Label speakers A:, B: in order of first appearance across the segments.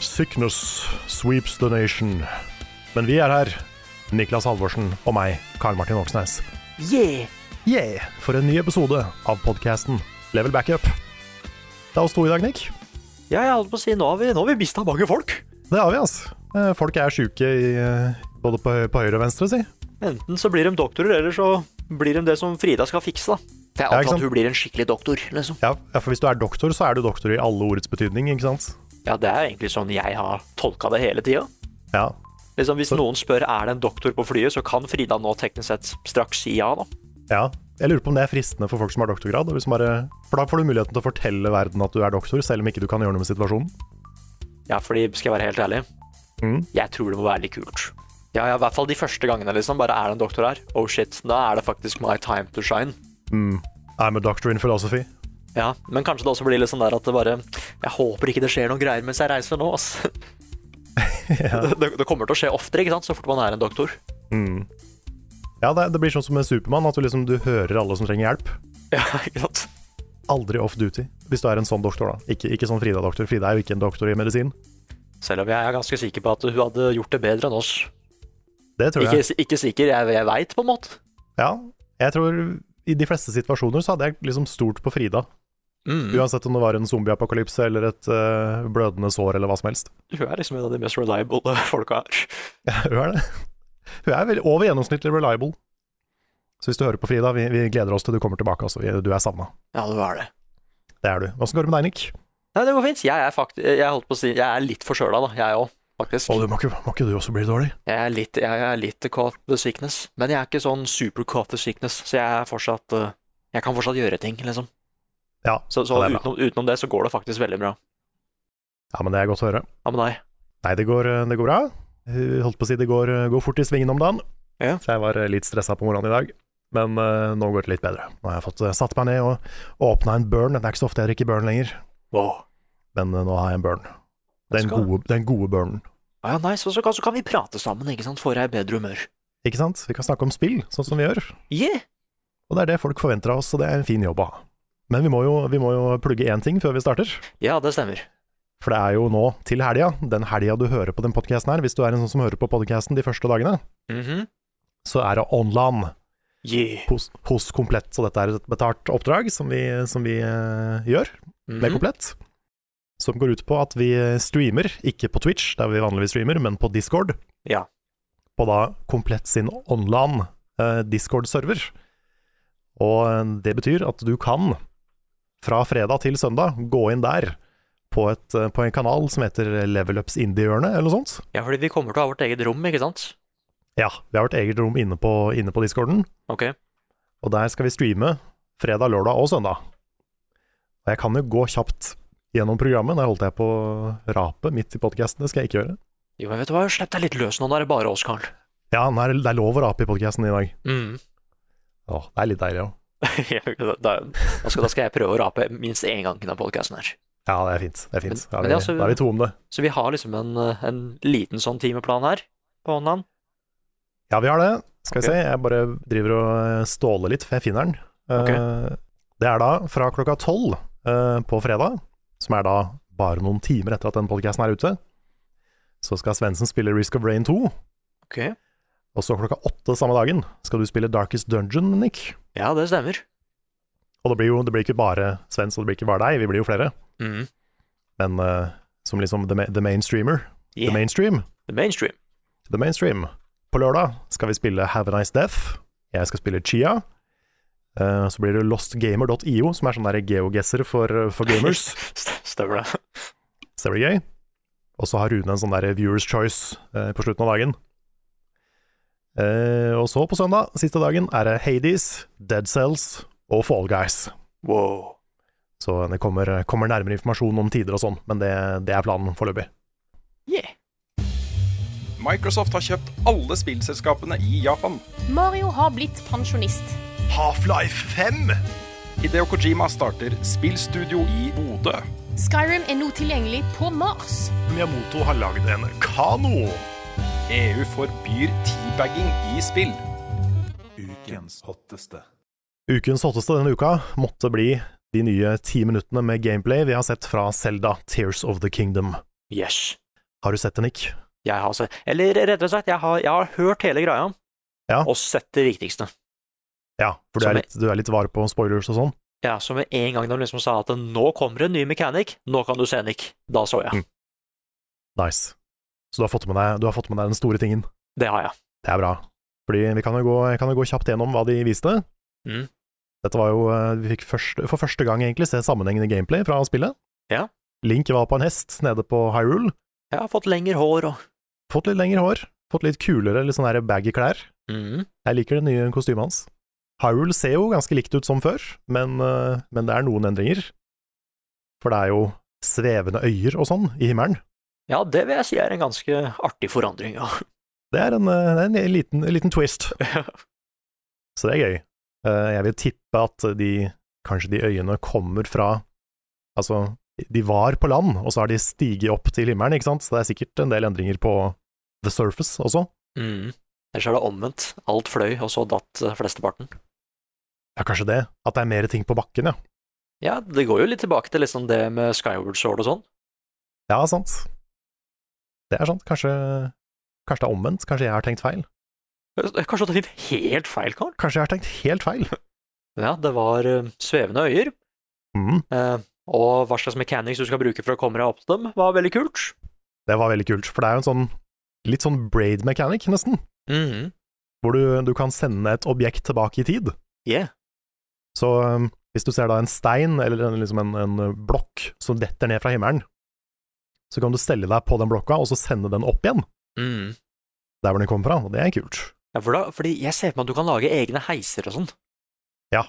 A: Sickness sweeps the nation. Men vi er her, Niklas Halvorsen og meg, Karl Martin Oksnes. Yeah! Yeah! For en ny episode av podkasten Level Backup. Det er oss to i dag, Nick.
B: Ja, jeg holdt på å si, nå har vi, nå har vi mista mange folk.
A: Det har vi, altså. Eh, Folk er sjuke i eh, både på, på høyre og venstre, si.
B: Enten så blir de doktorer, eller så blir de det som Frida skal fikse, da. For jeg
A: Ja, ikke
B: antar
A: sant?
B: at hun blir en skikkelig doktor, liksom.
A: Ja, ja, for hvis du er doktor, så er du doktor i alle ordets betydning, ikke sant?
B: Ja, det er egentlig sånn jeg har tolka det hele tida.
A: Ja.
B: Liksom, hvis noen spør er det en doktor på flyet, så kan Frida nå teknisk sett straks si ja, da.
A: ja. Jeg lurer på om det er fristende for folk som har doktorgrad. og Hvis man bare, for da får du muligheten til å fortelle verden at du er doktor, selv om ikke du kan gjøre noe med situasjonen.
B: Ja, fordi, skal jeg være helt ærlig,
A: Mm.
B: jeg tror det må være litt kult. Ja, ja, i hvert fall de første gangene, liksom. Bare er det en doktor her? Oh shit, da er det faktisk my time to shine.
A: I'm a doctor in philosophy.
B: Ja, men kanskje det også blir litt sånn der at det bare Jeg håper ikke det skjer noen greier mens jeg reiser nå, ass. det, det, det kommer til å skje oftere, ikke sant, så fort man er en doktor.
A: Mm. Ja, det, det blir sånn som med Supermann, at du liksom du hører alle som trenger hjelp.
B: Ja, ikke sant.
A: Aldri off duty, hvis du er en sånn doktor, da. Ikke, ikke sånn Frida-doktor. Frida er jo ikke en doktor i medisin.
B: Selv om jeg er ganske sikker på at hun hadde gjort det bedre enn oss.
A: Det tror
B: Ikke,
A: jeg.
B: ikke sikker, jeg, jeg veit på en måte.
A: Ja, jeg tror i de fleste situasjoner så hadde jeg liksom stolt på Frida.
B: Mm.
A: Uansett om det var en zombieapokalypse eller et eh, blødende sår eller hva som helst.
B: Hun er liksom en av de mest reliable folka her.
A: Hun er det. Hun er vel over gjennomsnittlig reliable. Så hvis du hører på Frida, vi, vi gleder oss til du kommer tilbake, altså. Vi- Du er savna.
B: Ja, du er det.
A: Det er du. Åssen går det med deg, Nick?
B: Nei, det går fint. Jeg er faktisk Jeg holdt på å si Jeg er litt forkjøla, da. Jeg òg, faktisk.
A: Å, du må ikke, må ikke du også bli dårlig?
B: Jeg er litt Jeg er litt caught the sickness. Men jeg er ikke sånn super caught the sickness, så jeg er fortsatt eh, Jeg kan fortsatt gjøre ting, liksom.
A: Ja,
B: Så, så
A: ja, det er bra.
B: utenom, utenom det så går det faktisk veldig bra.
A: Ja, men det er godt å høre.
B: Hva med deg?
A: Nei, det går, det går bra. Jeg Holdt på å si det går, går fort i svingen om dagen.
B: Ja.
A: Så jeg var eh, litt stressa på morgenen i dag. Men eh, nå går det litt bedre. Nå har jeg fått eh, satt meg ned og, og åpna en burn. Det er ikke så ofte jeg drikker burn lenger,
B: Wow.
A: men eh, nå har jeg en burn. Den
B: Skal-
A: gode, den gode burnen.
B: Ja, ja, nice. Og så kan, så kan vi prate sammen, ikke sant? Får jeg i bedre humør.
A: Ikke sant? Vi kan snakke om spill, sånn som vi gjør.
B: Yeah!
A: Og det er det folk forventer av oss, og det er en fin jobb å ha. Men vi må jo, vi må jo plugge én ting før vi starter.
B: Ja, det stemmer.
A: For det er jo nå til helga, den helga du hører på den podkasten her, hvis du er en sånn som hører på podkasten de første dagene,
B: Mhm.
A: så er det online.
B: Yeah.
A: hos, hos Komplett. Så dette er et betalt oppdrag som vi, som vi eh, gjør med
B: Mhm.
A: Komplett. Som går ut på at vi streamer, ikke på Twitch, der vi vanligvis streamer, men på Discord.
B: Ja.
A: På da Komplett sin online eh, Discord-server. Og eh, det betyr at du kan, fra fredag til søndag, gå inn der på, et, eh, på en kanal som heter Level Ups Indie-hjørnet, eller noe sånt.
B: Ja, fordi vi kommer til å ha vårt eget rom, ikke sant?
A: Ja, vi har vårt eget rom inne på, inne på Discorden.
B: Ok.
A: Og der skal vi streame fredag, lørdag og søndag. Og jeg kan jo gå kjapt gjennom programmet. Der holdt jeg på rapet midt i podkasten. Det skal jeg ikke gjøre.
B: Jo, men vet du hva, slipp deg litt løs nå, nå er det bare oss, Karl.
A: Ja, nå er det det er lov å rape i podkasten i dag.
B: Mm.
A: Å, det er litt deilig òg.
B: Ja, da, da, da skal, da skal jeg prøve å rape minst én gang i denne podkasten her.
A: Ja, det er fint. det er fint.
B: Men-
A: Da
B: men
A: er vi,
B: altså-
A: da er vi to om det.
B: Så vi har liksom en, eh, en liten sånn timeplan her på hånda.
A: Ja, vi har det. Skal vi
B: Ok.
A: se. Jeg bare driver og eh, ståler litt, for jeg finner den.
B: Ok.
A: Eh, Det er da fra klokka tolv eh, på fredag, som er da bare noen timer etter at den podkasten er ute, så skal Svendsen spille Risk of Rain 2.
B: Ok.
A: Og så klokka åtte samme dagen skal du spille Darkest Dungeon, Nick.
B: Ja, det stemmer.
A: Og det blir jo det blir ikke bare Svens, og det blir ikke bare deg, vi blir jo flere.
B: Mm.
A: Men eh, som liksom the, ma the mainstreamer.
B: Yeah.
A: The mainstream.
B: The mainstream.
A: The mainstream. På lørdag skal vi spille Have a Nice Death. Jeg skal spille Chia. Eh, Så blir det lostgamer.io, som er sånn der geogesser for, eh, for gamers.
B: St- Stemmer det.
A: Så det blir gøy. Og så har Rune en sånn der viewers choice eh, på slutten av dagen. Eh, og så på søndag, siste dagen, er det Hades, Dead Cells og Fall Guys.
B: Wow.
A: Så det kommer, kommer nærmere informasjon om tider og sånn, men det, det er planen foreløpig.
B: Yeah.
C: Microsoft har kjøpt alle spillselskapene i Japan.
D: Mario har blitt pensjonist.
A: Half-Life 5!
C: Hideo Kojima starter spillstudio i Bodø.
D: Skyrim er nå tilgjengelig på Mars.
A: Miyamoto har lagd en kano!
C: EU E forbyr teabagging i spill.
E: Ukens hotteste.
A: Ukens hotteste denne uka måtte bli de nye ti minuttene med gameplay vi har sett fra Selda Tears of the Kingdom.
B: Yes.
A: Har du sett det, Nick?
B: Jeg har sett Eller rettere sagt, jeg har, jeg har hørt hele greia
A: Ja.
B: og sett det viktigste.
A: Ja, for du
B: Som
A: er
B: jeg-
A: litt, du er litt var på spoilers og sånn.
B: Ja, Så med en gang de liksom sa at nå kommer en ny mechanic, nå kan du se Nick, da så jeg.
A: Mm. Nice. Så du har fått med deg, du har fått med deg den store tingen.
B: Det har jeg.
A: Det er bra. Fordi vi kan jo gå, jeg kan jo gå kjapt gjennom hva de viste.
B: Mm.
A: Dette var jo eh, Vi fikk først, for første gang egentlig se sammenhengende gameplay fra spillet.
B: Ja.
A: Link var på en hest nede på Hyrule.
B: Jeg har fått lengre hår og
A: Fått litt lengre hår. Fått litt kulere, litt sånne her baggy klær.
B: mm.
A: Jeg liker det nye kostymet hans. Hyrule ser jo ganske likt ut som før, men, eh, men det er noen endringer. For det er jo svevende øyer og sånn i himmelen.
B: Ja, det vil jeg si er en ganske artig forandring. Ja.
A: Det er en, eh, det er en liten, en liten twist. Så det er gøy. Eh, Jeg vil tippe at de, kanskje de øyene kommer fra Altså, de var på land, og så har de stiget opp til himmelen, ikke sant? Så det er sikkert en del endringer på the surface også.
B: Mm. Ellers er det omvendt. Alt fløy, og så datt eh, flesteparten.
A: Ja, kanskje det. At det er mer ting på bakken, ja.
B: Ja, det går jo litt tilbake til liksom det med Skyward Sword og sånn.
A: Ja, sant. Det er sant. Kanskje, kanskje det er omvendt. Kanskje jeg har tenkt feil.
B: Kanskje du har tenkt helt feil, Karl?
A: Kanskje jeg har tenkt helt feil.
B: Ja, det var eh, svevende øyer,
A: Mm,
B: eh, og hva slags mechanics du skal bruke for å komme deg opp til dem, var veldig kult.
A: det var veldig kult, for det er jo en sånn litt sånn braid mechanic, nesten.
B: Mhm.
A: Hvor du, du kan sende et objekt tilbake i tid.
B: Yeah.
A: Så um, hvis du ser da en stein, eller en, liksom en, en uh, blokk, som detter ned fra himmelen, så kan du stelle deg på den blokka, og så sende den opp igjen,
B: Mhm.
A: der hvor den kommer fra, og det er kult.
B: Ja, for da, fordi jeg ser for meg at du kan lage egne heiser og sånn.
A: Ja.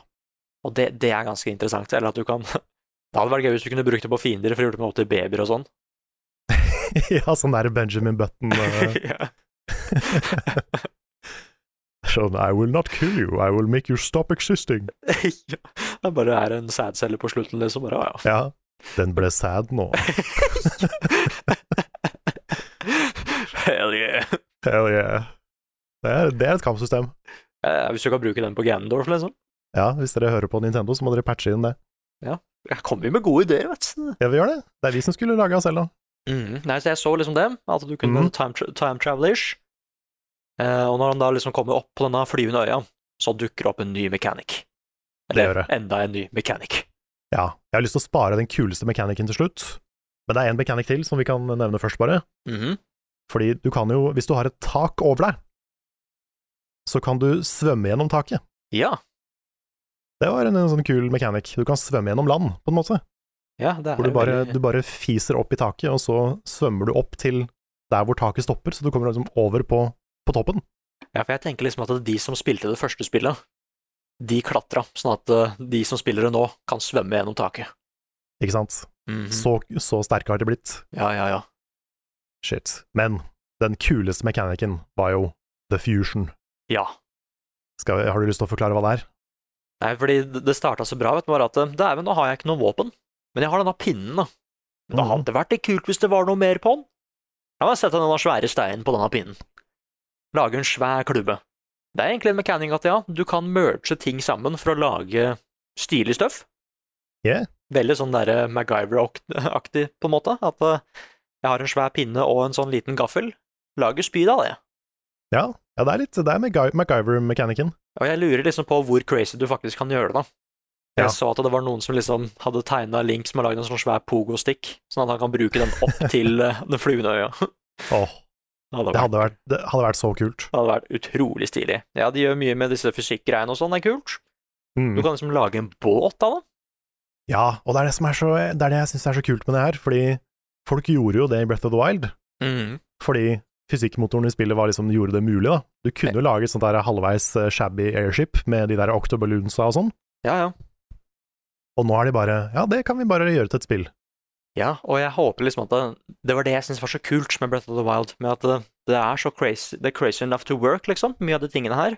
B: Og det, det er ganske interessant. Eller at du kan Det hadde vært gøy hvis du kunne brukt det på fiender for å gjøre dem opp til babyer og sånn.
A: ja, sånn der Benjamin Button uh,
B: Ja.
A: sånn, I will not kill you, I will make you stop existing.
B: Ja. Det bare er en sædcelle på slutten, liksom. Bare, ja,
A: Ja, den ble sad nå.
B: ja. Hell yeah.
A: Hell yeah. Det er, det er et kampsystem.
B: Eh, Hvis du kan bruke den på Ganondorf, liksom.
A: Ja, hvis dere hører på Nintendo, så må dere patche inn det.
B: Jeg kommer jo med gode ideer, vet du.
A: Ja, vi gjør det. Det er vi som skulle lage Zelda.
B: Mhm. Nei, så jeg så liksom det, at du kunne
A: Mhm.
B: være time, tra time travelers. Eh, og når han da liksom kommer opp på denne flyvende øya, så dukker det opp en ny mechanic.
A: gjør det.
B: enda en ny mechanic.
A: Ja, jeg har lyst til å spare den kuleste mekanikeren til slutt, men det er én mekanikk til som vi kan nevne først, bare.
B: Mhm.
A: Fordi du kan jo, hvis du har et tak over deg, så kan du svømme gjennom taket.
B: Ja,
A: Det var en, en sånn kul mekanikk. Du kan svømme gjennom land, på en måte.
B: ja, det er
A: Hvor du
B: jo
A: bare,
B: veldig-
A: du bare fiser opp i taket, og så svømmer du opp til der hvor taket stopper, så du kommer liksom over på, på toppen.
B: Ja, for jeg tenker liksom at de som spilte det første spillet, de klatra, sånn at eh, de som spiller det nå, kan svømme gjennom taket.
A: Ikke sant?
B: Mhm.
A: Så, så sterke har de blitt.
B: Ja, ja, ja.
A: Shit. Men den kuleste mekanikken var jo The Fusion.
B: Ja.
A: Skal, vi- har du lyst til å forklare hva det er?
B: Nei, fordi det- det starta så bra, vet du, bare at eh, dæven, nå har jeg ikke noe våpen. Men jeg har denne pinnen, da. Men da hadde det vært litt kult hvis det var noe mer på den. La meg sette denne svære steinen på denne pinnen. Lage en svær klubbe. Det er egentlig en mekanikk at ja, du kan merge ting sammen for å lage stilig støff.
A: Ja.
B: Veldig sånn derre MacGyver-aktig, på en måte. At eh, jeg har en svær pinne og en sånn liten gaffel. Lager spyd av det.
A: Ja, ja det er litt det er MacGy- MacGyver-mekanikken.
B: Og jeg lurer liksom på hvor crazy du faktisk kan gjøre det, da. Jeg
A: Ja.
B: så at det var noen som liksom hadde tegna Link som har lagd en sånn svær pogo-stick, sånn at han kan bruke den opp til eh, den flyvende øya.
A: Åh,
B: Det hadde
A: det
B: vært,
A: hadde vært, det hadde vært så kult.
B: det hadde vært utrolig stilig. Ja, de gjør mye med disse fysikkgreiene og sånn, det er kult.
A: Mm.
B: Du kan liksom lage en båt av det.
A: Ja, og det er det, som er så, det, er det jeg syns er så kult med det her, fordi folk gjorde jo det i Breath of the Wild, Mm. fordi fysikkmotoren i spillet var liksom, gjorde det mulig, da. Du kunne jo lage et sånt der halvveis eh, shabby airship med de der octoballoonsa og sånn,
B: Ja, ja.
A: og nå er de bare Ja, det kan vi bare gjøre til et spill.
B: Ja, og jeg håper liksom at det, det var det jeg syntes var så kult med Breath of the Wild, med at det, det er så crazy, det er crazy enough to work, liksom, mye av de tingene her.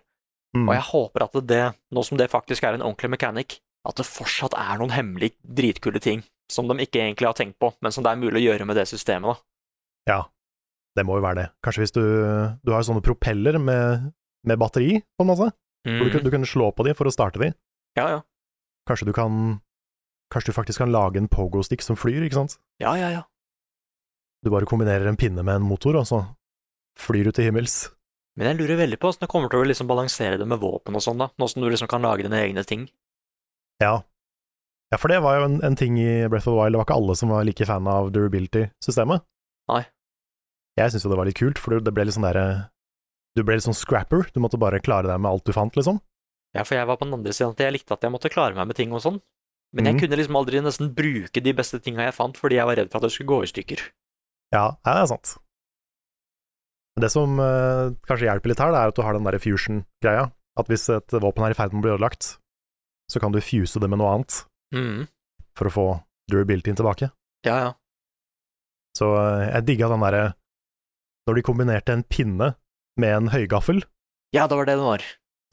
A: Mm.
B: Og jeg håper at det, nå som det faktisk er en ordentlig mechanic, at det fortsatt er noen hemmelige dritkule ting som de ikke egentlig har tenkt på, men som det er mulig å gjøre med det systemet, da.
A: Ja, det må jo være det. Kanskje hvis du Du har jo sånne propeller med, med batteri, på en måte,
B: Mhm.
A: hvor du, kun- du kunne slå på de for å starte de.
B: Ja, ja.
A: Kanskje du kan Kanskje du faktisk kan lage en pogo-stick som flyr, ikke sant?
B: Ja, ja, ja.
A: Du bare kombinerer en pinne med en motor, og så flyr du til himmels.
B: Men jeg lurer veldig på åssen det kommer til å liksom balansere det med våpen og sånn, da, nå som du liksom kan lage dine egne ting.
A: Ja. Ja, for det var jo en, en ting i Breath of the Wild. Det var ikke alle som var like fan av durability-systemet.
B: Nei.
A: Jeg syns jo det var litt kult, for det ble litt sånn derre Du ble litt sånn scrapper. Du måtte bare klare deg med alt du fant, liksom.
B: Ja, for jeg var på den andre siden at jeg likte at jeg måtte klare meg med ting og sånn. Men
A: Mhm.
B: jeg kunne liksom aldri nesten bruke de beste tinga jeg fant, fordi jeg var redd for at det skulle gå i stykker.
A: Ja, ja, det er sant. Men Det som eh, kanskje hjelper litt her, det er at du har den derre fusion-greia. At hvis et våpen er i ferd med å bli ødelagt, så kan du fuse det med noe annet
B: Mhm.
A: for å få durabilityen tilbake.
B: Ja, ja.
A: Så eh, jeg digga den derre Når de kombinerte en pinne med en høygaffel,
B: Ja, det var det det var.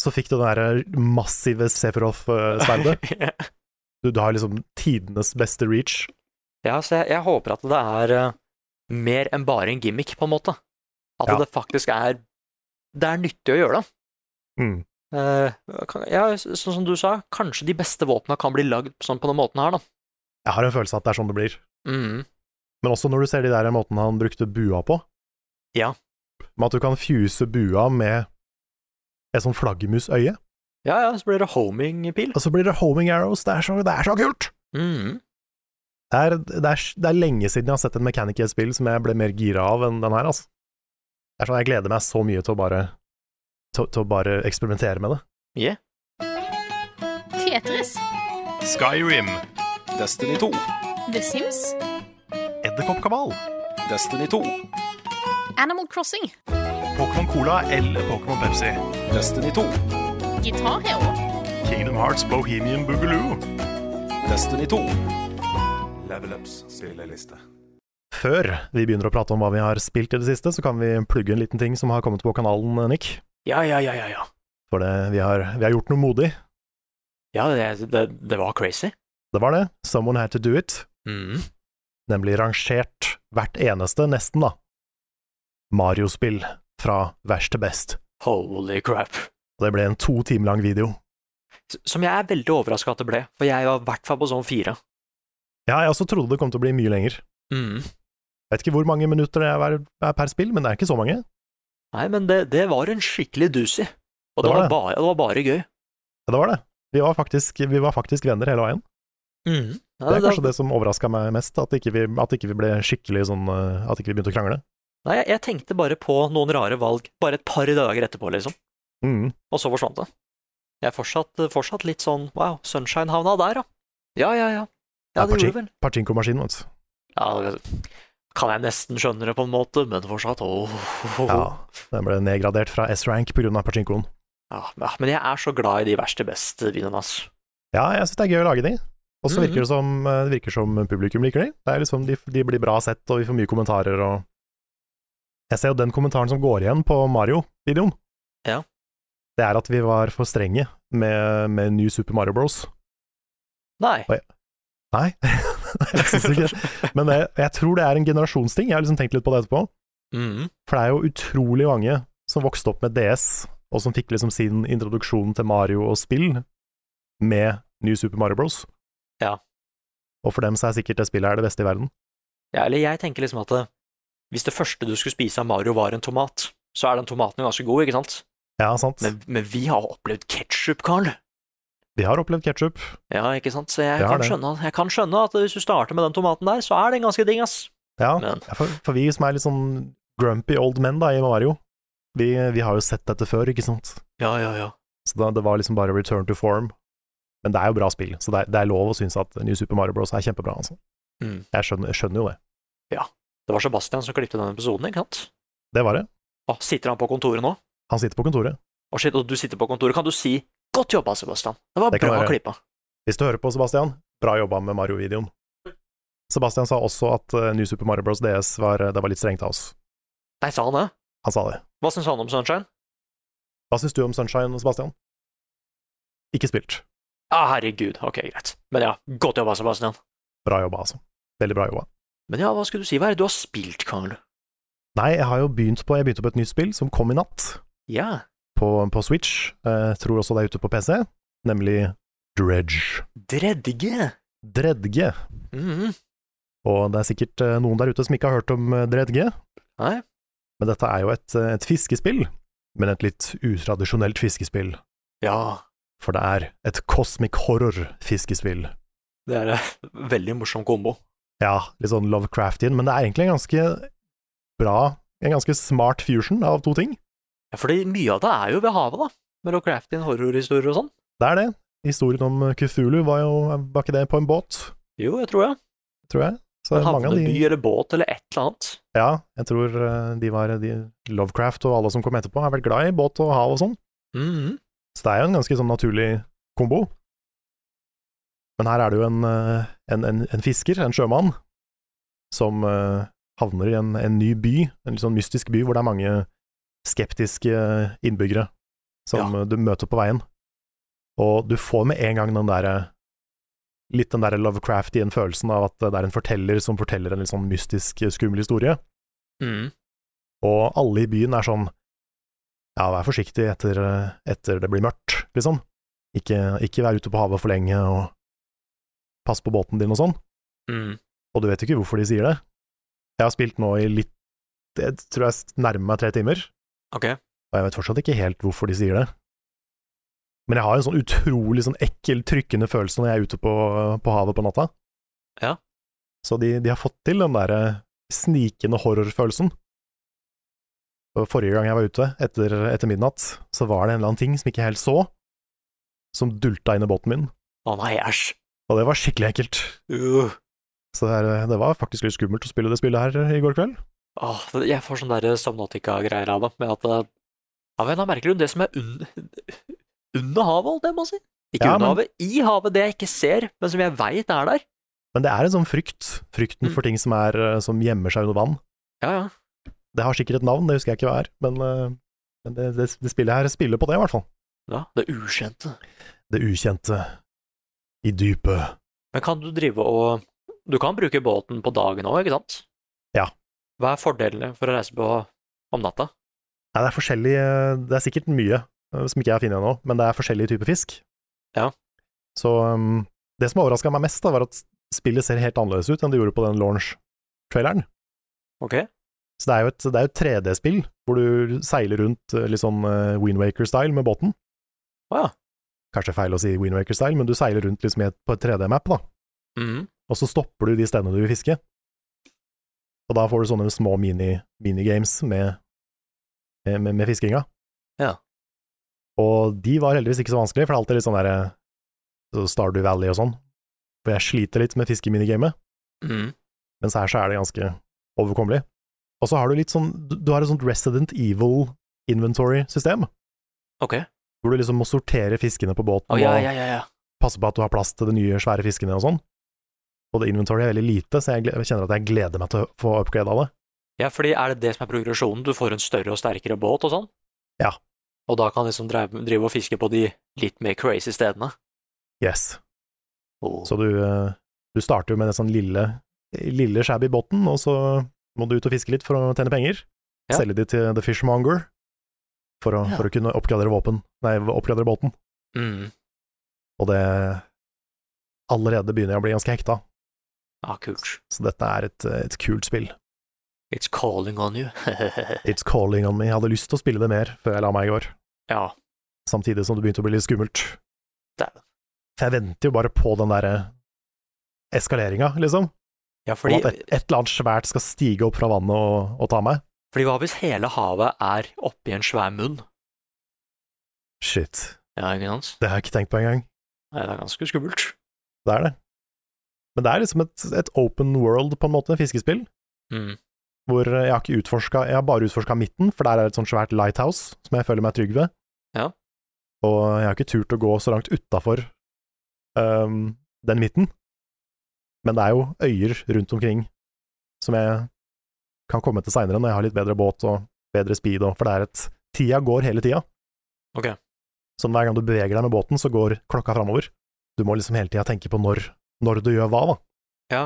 A: så fikk du den derre massive Sephiroth-sverdet. Du, du har liksom tidenes beste reach.
B: ja, så jeg, jeg håper at det er eh, mer enn bare en gimmick, på en måte. At
A: Ja.
B: det faktisk er Det er nyttig å gjøre det.
A: Mm.
B: Eh, kan- ja, så- sånn som du sa, kanskje de beste våpna kan bli lagd sånn på den måten her, da.
A: Jeg har en følelse av at det er sånn det blir.
B: Mhm.
A: Men også når du ser de der måten han brukte bua på.
B: Ja.
A: Med at du kan fuse bua med et sånn flaggermusøye.
B: Ja, ja, så blir det homing-pil.
A: Og så blir det homing arrows. Det er så, det er så kult!
B: Mhm.
A: Det er, det, er, det er lenge siden jeg har sett en mechanic i et spill som jeg ble mer gira av enn den her, altså. Det er sånn, jeg gleder meg så mye til å bare, til, til å bare eksperimentere med det.
B: Yeah.
D: Tetris.
E: Skyrim.
C: Destiny 2.
D: The Sims.
E: Edderkoppkabal.
C: Destiny 2.
D: Animal Crossing.
E: Pokémon Cola eller Pokémon Pepsi.
C: Destiny 2.
D: Gitar Hero.
E: Kingdom Hearts Bohemian Boogaloo.
C: Destiny 2.
E: Level Ups spilleliste.
A: Før vi begynner å prate om hva vi har spilt i det siste, så kan vi plugge en liten ting som har kommet på kanalen, eh, Nick.
B: Ja, ja, ja, ja. ja.
A: For det, vi, har, vi har gjort noe modig.
B: Ja, det, det, det var crazy.
A: Det var det. Someone had to do it.
B: Mhm.
A: nemlig rangert hvert eneste, nesten da, Mario-spill fra verst til best.
B: Holy crap.
A: Og det ble en to timer lang video.
B: S- Som jeg er veldig overraska at det ble, for jeg var i hvert fall på sånn fire.
A: Ja, jeg også trodde det kom til å bli mye lenger.
B: Mhm.
A: Jeg vet ikke hvor mange minutter det er, er per spill, men det er ikke så mange.
B: Nei, men det, det var en skikkelig doozy. Og det,
A: Det var
B: var,
A: det.
B: Bare, det var bare gøy.
A: Ja, det var det. Vi var faktisk, vi var faktisk venner hele veien.
B: Ja,
A: Det er
B: det-
A: kanskje det som overraska meg mest, at ikke, vi, at ikke vi ble skikkelig sånn eh, At ikke vi begynte å krangle.
B: Nei, jeg, jeg tenkte bare på noen rare valg bare et par dager etterpå, liksom.
A: Mm.
B: Og så forsvant det. Jeg er fortsatt, fortsatt litt sånn wow, Sunshine havna der, ja. Ja, ja, ja. Ja, det gjorde vel.
A: Pachinko-maskinen, vet du.
B: Ja, det kan jeg nesten skjønne det på en måte, men fortsatt oh, åh.
A: Ja, den ble nedgradert fra S-rank pga. pachinkoen.
B: Ja, ja, men jeg er så glad i de verste best-videoene, ass.
A: Ja, jeg syns det er gøy å lage de. Og så
B: Mhm.
A: virker det som, eh, det virker som publikum liker de. Det er liksom, de, de blir bra sett, og vi får mye kommentarer og Jeg ser jo den kommentaren som går igjen på Mario-videoen.
B: Ja.
A: Det er at vi var for strenge med, med ny Super Mario Bros.
B: Nei.
A: Nei, jeg syns ikke Men jeg, jeg tror det er en generasjonsting. Jeg har liksom tenkt litt på det etterpå.
B: Mhm.
A: For det er jo utrolig mange som vokste opp med DS, og som fikk liksom sin introduksjon til Mario og spill med New Super Mario Bros.
B: Ja.
A: Og for dem så er sikkert det spillet er det beste i verden.
B: Ja, eller jeg tenker liksom at eh, hvis det første du skulle spise av Mario var en tomat, så er den tomaten ganske god, ikke sant?
A: Ja, sant.
B: Men, men vi har opplevd ketsjup, Karl.
A: Vi har opplevd ketsjup.
B: Ja, ikke sant? Så jeg
A: Det er
B: kan,
A: det.
B: skjønne, jeg kan skjønne at hvis du starter med den tomaten der, så er den ganske digg, ass.
A: Ja,
B: Men-
A: for, for vi som er litt sånn grumpy old men da, i Mario, vi, vi har jo sett dette før, ikke sant?
B: Ja, ja, ja.
A: Så da, det var liksom bare return to form. Men det er jo bra spill, så det er, det er lov å synes at New Super Mario Bros. er kjempebra. Altså.
B: Mm.
A: Jeg, skjønner, jeg skjønner jo det.
B: Det var Sebastian som klippet den episoden, ikke sant?
A: Det var det.
B: Å, sitter han på kontoret nå?
A: Han sitter på kontoret.
B: Å, shit, og du sitter på kontoret. Kan du si 'godt jobba, Sebastian'? Det var
A: Det kan
B: bra
A: være.
B: klippa.
A: Hvis du hører på, Sebastian, bra jobba med Mario-videoen. Sebastian sa også at eh, New Super Mario Bros. DS var, eh, det var litt strengt av oss.
B: Nei, sa han det?
A: Han sa det.
B: Hva syns han om Sunshine?
A: Hva syns du om Sunshine, Sebastian? Ikke spilt.
B: Ja, herregud. Ok, greit. Men ja, godt jobba, Sebastian.
A: Bra jobba, altså. Veldig bra jobba.
B: Men ja, hva skulle du si? Hva er det du har spilt, Karl?
A: Nei, jeg har jo begynt på, jeg begynte på et nytt spill som kom i natt,
B: Ja,
A: på, på Switch. Eh, tror også det er ute på PC, nemlig Dredge.
B: Dredge.
A: Dredge.
B: Mhm.
A: Og det er sikkert eh, noen der ute som ikke har hørt om eh, Dredge,
B: Nei,
A: men dette er jo et, eh, et fiskespill. Men et litt utradisjonelt fiskespill,
B: ja.
A: for det er et cosmic horror-fiskespill.
B: Det er en veldig morsom kombo.
A: ja, litt sånn Lovecraftian, men det er egentlig en ganske bra, en ganske smart fusion av to ting.
B: Ja, fordi mye av det er jo ved havet, da. Med Lovecraftian horrorhistorier og sånn.
A: Det er det. Historien om Cthulhu var jo var ikke det på en båt,
B: Jo, jeg tror jeg.
A: tror jeg. Så
B: En
A: mange av
B: havneby
A: de
B: eller båt eller et eller annet.
A: Ja, jeg tror eh, de var de, Lovecraft og alle som kom etterpå, har vært glad i båt og hav og sånn.
B: Mhm.
A: Så det er jo en ganske sånn naturlig kombo. Men her er det jo en, eh, en, en, en fisker, en sjømann, som eh, havner i en, en ny by, en litt sånn mystisk by hvor det er mange skeptiske innbyggere som eh, du møter på veien. Og du får med en gang den derre Litt den der Lovecraftian følelsen av at det er en forteller som forteller en litt sånn mystisk, skummel historie.
B: Mhm.
A: Og alle i byen er sånn Ja, vær forsiktig etter, etter det blir mørkt, liksom. Ikke, ikke vær ute på havet for lenge, og pass på båten din og sånn.
B: Mhm.
A: Og du vet ikke hvorfor de sier det. Jeg har spilt nå i litt Jeg tror jeg nærmer meg tre timer,
B: Ok.
A: og jeg vet fortsatt ikke helt hvorfor de sier det. Men jeg har en sånn utrolig sånn ekkel, trykkende følelse når jeg er ute på, på havet på natta.
B: Ja.
A: Så de, de har fått til den derre snikende horrorfølelsen. Og Forrige gang jeg var ute, etter, etter midnatt, så var det en eller annen ting som ikke jeg helt så, som dulta inn i båten min,
B: Å nei, æsj.
A: og det var skikkelig ekkelt.
B: Uh.
A: Så det, er- det var faktisk litt skummelt å spille det spillet her i går kveld.
B: Åh, det- jeg får sånne der Samnatica-greier av det, med at eh, Av en eller annen merkelig grunn, det som er un under havet, holdt jeg på å si Ikke
A: Ja,
B: under
A: men-
B: havet, i havet, det jeg ikke ser, men som jeg veit er der.
A: Men det er en sånn frykt, frykten for ting som, er, eh, som gjemmer seg under vann.
B: Ja, ja.
A: Det har sikkert et navn, det husker jeg ikke hva er, men, eh, men det, det, det spillet her spiller på det, i hvert fall.
B: ja det ukjente.
A: Det ukjente i dypet.
B: Men kan du drive og Du kan bruke båten på dagen òg, ikke sant?
A: Ja.
B: Hva er fordelene for å reise på om natta?
A: Nei, det er forskjellig eh, Det er sikkert mye eh, som ikke jeg har funnet ennå, men det er forskjellige typer fisk.
B: Ja.
A: Så um, det som overraska meg mest, da, var at spillet ser helt annerledes ut enn det gjorde på den launch-traileren.
B: Ok?
A: Så det er jo et, det er jo et 3D-spill hvor du seiler rundt eh, litt sånn Windwaker-style med båten.
B: Å ja.
A: Kanskje feil å si Windwaker-style, men du seiler rundt liksom i et, på et 3D-map, da.
B: Mhm.
A: Og så stopper du de stedene du vil fiske. Og da får du sånne små mini, minigames med, med, med, med fiskinga.
B: Ja.
A: Og de var heldigvis ikke så vanskelige, for det er alltid litt sånn derre så Stardew Valley og sånn. For jeg sliter litt med fiskeminigamet,
B: Mhm.
A: mens her så er det ganske overkommelig. Og så har du litt sånn Du du har et sånt Resident Evil inventory-system,
B: Ok.
A: hvor du liksom må sortere fiskene på båten.
B: Å ja,
A: og-
B: ja, ja, ja.
A: passe på at du har plass til de nye, svære fiskene og sånn. Og det inventory er veldig lite, så jeg gle- kjenner at jeg gleder meg til å få upgrade av det.
B: Ja, fordi er det det som er progresjonen? Du får en større og sterkere båt og sånn?
A: Ja.
B: Og da kan liksom drive, drive og fiske på de litt mer crazy stedene?
A: Yes.
B: Oh.
A: Så du, eh, du starter jo med den sånn lille, lille shabby båten, og så må du ut og fiske litt for å tjene penger.
B: Ja.
A: Selge de til The Fishmonger for å,
B: Ja.
A: for å kunne oppgradere våpen, nei, oppgradere båten.
B: Mm.
A: Og det Allerede begynner jeg å bli ganske hekta,
B: Ah, kult.
A: så dette er et, eh, et kult spill.
B: It's calling on you.
A: It's calling on me. Jeg hadde lyst til å spille det mer før jeg la meg i går.
B: ja.
A: samtidig som det begynte å bli litt skummelt.
B: Dæven.
A: For jeg venter jo bare på den derre eskaleringa, liksom.
B: ja, fordi,
A: Om at et, et eller annet svært skal stige opp fra vannet og, og ta meg.
B: fordi hva hvis hele havet er oppi en svær munn?
A: Shit,
B: Ja, ikke sant?
A: det har jeg ikke tenkt på engang.
B: Nei, det er ganske skummelt.
A: Det er det. Men det er liksom et, et open world, på en måte, fiskespill,
B: Mm.
A: hvor jeg har ikke utforska Jeg har bare utforska midten, for der er et sånt svært lighthouse som jeg føler meg trygg ved.
B: Ja.
A: Og jeg har ikke turt å gå så langt utafor den midten. Men det er jo øyer rundt omkring som jeg kan komme til seinere, når jeg har litt bedre båt og bedre speed, og, for det er et Tida går hele tida.
B: Ok.
A: Så hver gang du beveger deg med båten, så går klokka framover. Du må liksom hele tida tenke på når, når du gjør hva, da.
B: Ja.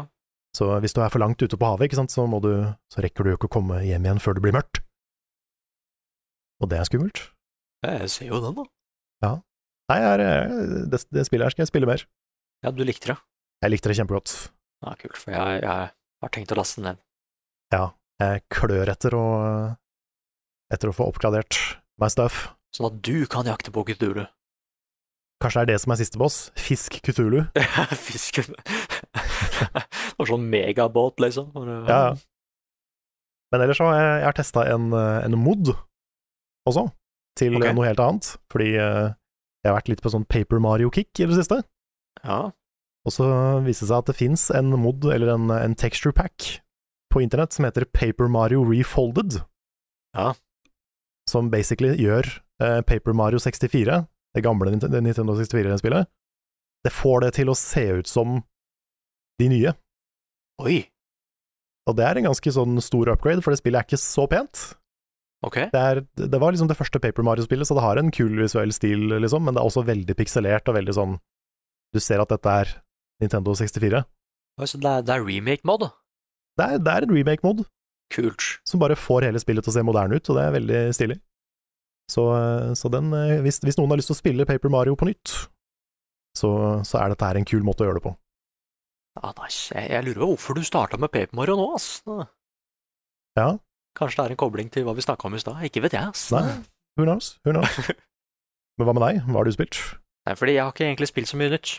A: Så hvis du er for langt ute på havet, ikke sant, så, må du, så rekker du jo ikke å komme hjem igjen før det blir mørkt. Og det er skummelt.
B: Jeg ser jo den, da.
A: Nei, jeg er- eh, det, det spillet her skal jeg spille mer.
B: Ja, du likte det.
A: Jeg likte det kjempegodt.
B: Ja, kult, for jeg, jeg har tenkt å laste den ned.
A: Jeg klør etter å, etter å få oppgradert my stuff.
B: Sånn at du kan jakte på Kutulu.
A: Kanskje det er det som er siste boss? Fisk Kutulu.
B: Fisken. det var sånn megabåt, liksom. Hvor,
A: Ja, ja. Men ellers så har jeg, jeg har testa en, eh, en mod også, til
B: Ok.
A: eh, noe helt annet. Fordi eh, jeg har vært litt på sånn Paper Mario-kick i det siste.
B: ja.
A: Og så viser det seg at det fins en mod, eller en, en texture pack, på internett som heter Paper Mario Refolded.
B: Ja.
A: Som basically gjør eh, Paper Mario 64, det gamle Nint- det Nintendo 64-spillet, det får det til å se ut som de nye.
B: Oi,
A: Og det er en ganske sånn stor upgrade, for det spillet er ikke så pent.
B: ok.
A: Det, er, det var liksom det første Paper Mario-spillet, så det har en kul visuell stil, liksom, men det er også veldig pikselert og veldig sånn Du ser at dette er Nintendo 64.
B: Oi, Så det er, det er remake-mod? da.
A: Det er, det er en remake-mod.
B: Kult.
A: som bare får hele spillet til å se moderne ut, og det er veldig stilig. Så, så den, eh, hvis, hvis noen har lyst til å spille Paper Mario på nytt, så, så er dette her en kul måte å gjøre det på.
B: Ja, nice. Jeg, jeg lurer på hvorfor du starta med Paper Mario nå, ass.
A: Ja,
B: Kanskje det er en kobling til hva vi snakka om i stad? Ikke vet jeg, ass.
A: nei, who knows, who knows. Men hva med deg, hva har du spilt?
B: Nei, fordi jeg har ikke egentlig spilt så mye nytt.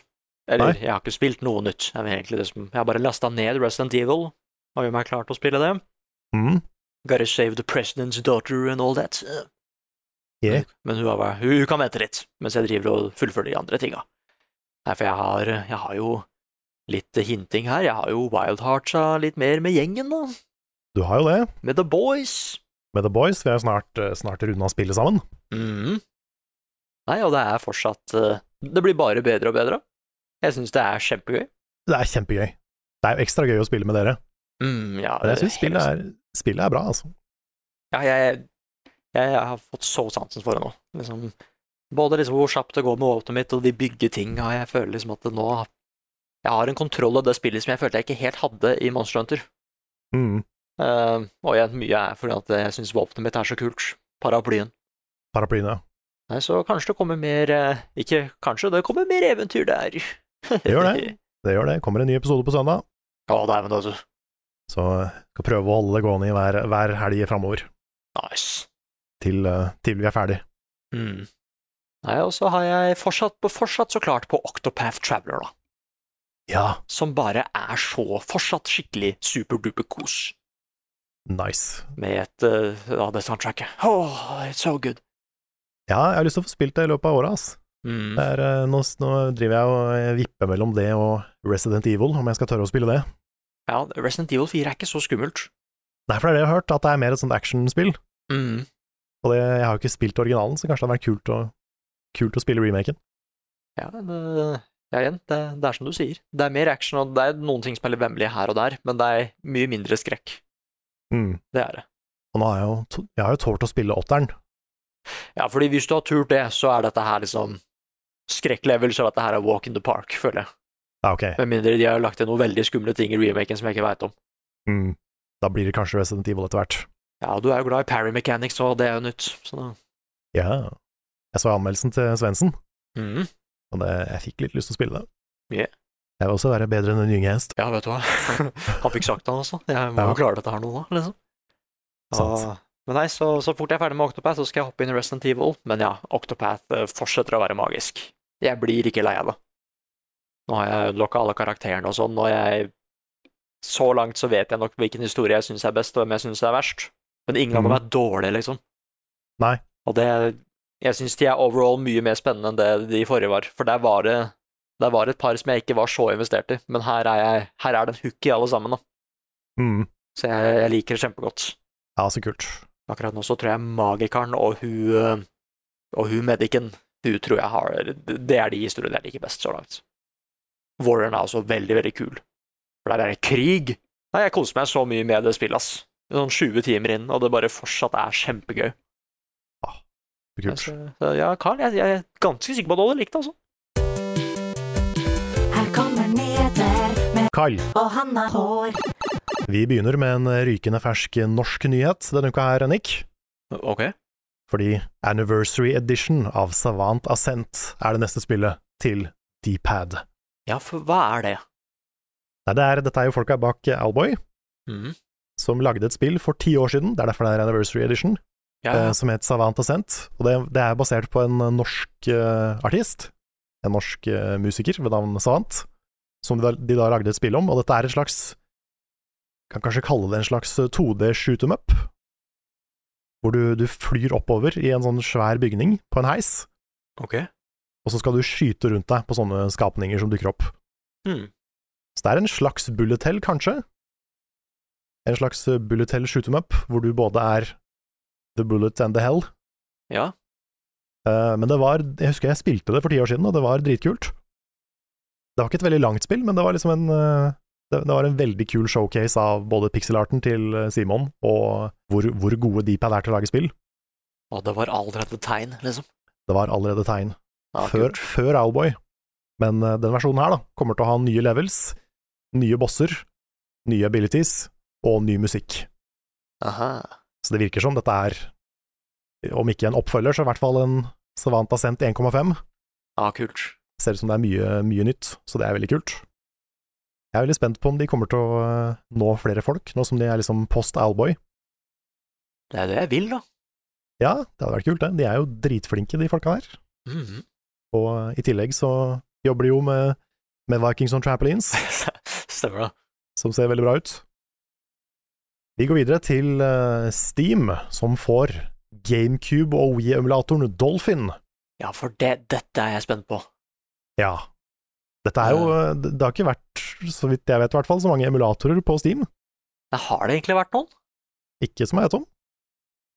B: Eller, jeg har ikke spilt noe nytt. Jeg, egentlig det som, jeg har bare lasta ned Resident Evil og gjør meg klar til å spille det.
A: Mm,
B: Gotta save the president's daughter and all that.
A: Yeah.
B: Men hun, har, vært- hun, hun kan vente litt, mens jeg driver og fullfører de andre tinga. Nei, for jeg har, jeg har jo litt hinting her. Jeg har jo Wild Hearts av litt mer med gjengen, da.
A: du har jo det,
B: Med The Boys.
A: med The Boys, vi har jo snart, eh, snart runda spillet sammen.
B: Mhm. Nei, og det er fortsatt eh, Det blir bare bedre og bedre. Jeg syns det er kjempegøy.
A: Det er kjempegøy. Det er jo ekstra gøy å spille med dere,
B: Mm, ja,
A: men jeg
B: det-
A: syns spillet, er- spillet er bra, altså.
B: Ja, jeg, jeg, jeg har fått så sansen for det nå. Liksom, både liksom hvor kjapt det går med våpenet mitt, og de bygger ting, og jeg føler liksom at det nå Jeg har en kontroll av det spillet som jeg følte jeg ikke helt hadde i Monster Hunter.
A: Mm,
B: Eh, og igjen, mye er fordi at jeg syns våpenet mitt er så kult. Paraplyen.
A: paraplyen, ja.
B: Nei, så kanskje det kommer mer eh, Ikke kanskje, det kommer mer eventyr der.
A: Det gjør det. Det gjør det. Kommer en ny episode på søndag,
B: Ja, dæven, altså.
A: så eh, skal prøve å holde det gående i hver, hver helg framover.
B: Nice.
A: til, eh, til vi er ferdig.
B: Mm. Nei, og så har jeg fortsatt, fortsatt så klart på Octopath Traveler, da.
A: Ja,
B: som bare er så fortsatt skikkelig superduper kos
A: nice.
B: med et eh, Ja, det soundtracket. Oh, it's so good.
A: Ja, jeg har lyst til å få spilt det i løpet av året, ass. Det
B: Mm.
A: er, eh, nå, s- nå driver jeg og eh, vipper mellom det og Resident Evil, om jeg skal tørre å spille det.
B: Ja, Resident Evil 4 er ikke så skummelt.
A: Nei, for det er det jeg har hørt, at det er mer et sånt actionspill.
B: Mm.
A: Og det, jeg har jo ikke spilt originalen, så kanskje det hadde vært kult å, kult å spille remaken.
B: Ja, det, ja, igjen, det, det er som du sier. Det er mer action, og det er noen ting som er litt vemmelige her og der, men det er mye mindre skrekk.
A: Mm.
B: Det er det.
A: Og nå har jeg jo, to- jeg har jo tålt å spille åtteren.
B: Ja, fordi hvis du har turt det, så er dette her liksom Skrekklevel, så er dette her er walk in the park, føler jeg.
A: Ja, ok.
B: Med mindre de har lagt til noen veldig skumle ting i remaken som jeg ikke veit om.
A: Mm. Da blir det kanskje Resident Evil etter hvert.
B: Ja, du er jo glad i parry mechanics, og det er jo nytt, så da
A: Ja. Jeg så anmeldelsen til Svendsen,
B: mm.
A: og det, jeg fikk litt lyst til å spille det.
B: Ja.
A: Jeg vil også være bedre enn en gyngehest.
B: Ja, vet du hva. Han fikk sagt det, han også. Jeg må
A: Ja.
B: jo klare dette her nå, da. liksom.
A: Sant.
B: Og- men nei, så, så fort jeg er ferdig med Octopath, så skal jeg hoppe inn i Resident Evil. Men ja, Octopath eh, fortsetter å være magisk. Jeg blir ikke lei av det. Nå har jeg ødelokka alle karakterene og sånn, og jeg Så langt så vet jeg nok hvilken historie jeg syns er best, og hvem jeg syns er verst. Men ingen av dem
A: Mhm.
B: er dårlige, liksom.
A: Nei.
B: Og det Jeg syns de er overall mye mer spennende enn det de forrige var, for der var det Det var et par som jeg ikke var så investert i, men her er, jeg, her er det en hook i alle sammen, da.
A: Mm.
B: Så jeg, jeg liker det kjempegodt.
A: Ja, så kult.
B: Akkurat nå så tror jeg Magikeren og hun eh, og hun Medicen, hun tror jeg har Det er de historiene jeg liker best så langt. Warren er også veldig, veldig kul. For der er det krig. Nei, jeg koser meg så mye med det spillet, ass. Sånn 20 timer inn, og det bare fortsatt er kjempegøy.
A: Så kult.
B: Så, så ja, Carl, jeg, jeg er ganske sikker på at du hadde likt det, altså.
F: Her kommer Neder,
A: Carl,
F: og han har hår.
A: vi begynner med en eh, rykende fersk norsk nyhet denne uka her, Nick.
B: Ok.
A: Fordi Anniversary Edition av Savant Ascent er det neste spillet til D-pad.
B: Ja, for hva er det?
A: Nei, det er, dette er jo folka bak Alboy,
B: Mm.
A: som lagde et spill for ti år siden. Det er derfor det er Anniversary Edition.
B: Ja,
A: eh, som het Savant Ascent. Og det, det er basert på en norsk eh, artist, en norsk eh, musiker ved navn Savant, som de da, de da lagde et spill om. Og dette er et slags Kan kanskje kalle det en slags eh, 2D shoot em up, hvor du, du flyr oppover i en sånn svær bygning på en heis,
B: ok.
A: og så skal du skyte rundt deg på sånne skapninger som dukker opp.
B: Mm.
A: Så det er en slags bullet hell, kanskje. En slags eh, bullet hell shoot em up, hvor du både er the bullet and the hell,
B: Ja.
A: Eh, Men det var Jeg husker jeg spilte det for ti år siden, og det var dritkult. Det var ikke et veldig langt spill, men det var liksom en eh, Det, det var en veldig kul showcase av både pixelarten til eh, Simon, og hvor, hvor gode Dpad er til å lage spill.
B: Og det var allerede tegn, liksom.
A: Det var allerede tegn
B: Ja,
A: før,
B: kult.
A: før Owlboy. Men eh, den versjonen her da, kommer til å ha nye levels, nye bosser, nye abilities og ny musikk.
B: Aha.
A: Så det virker som dette er, om ikke en oppfølger, så i hvert fall en Savant Ascent 1,5.
B: Ja, kult.
A: ser ut som det er mye, mye nytt, så det er veldig kult. Jeg er veldig spent på om de kommer til å eh, nå flere folk, nå som de er liksom post Alboy.
B: Det er det jeg vil, da.
A: Ja, det hadde vært kult, det. De er jo dritflinke, de folka der.
B: Mhm.
A: Og eh, i tillegg så jobber de jo med, med Vikings on Trampolines,
B: Stemmer det.
A: som ser veldig bra ut. Vi går videre til eh, Steam, som får GameCube og Wii-emulatoren Dolphin.
B: Ja, for det, dette er jeg spent på.
A: Ja. Dette er jo eh, Det det har ikke vært, så vidt jeg vet i hvert fall, så mange emulatorer på Steam.
B: Nei, Har det egentlig vært noen?
A: Ikke som jeg vet om.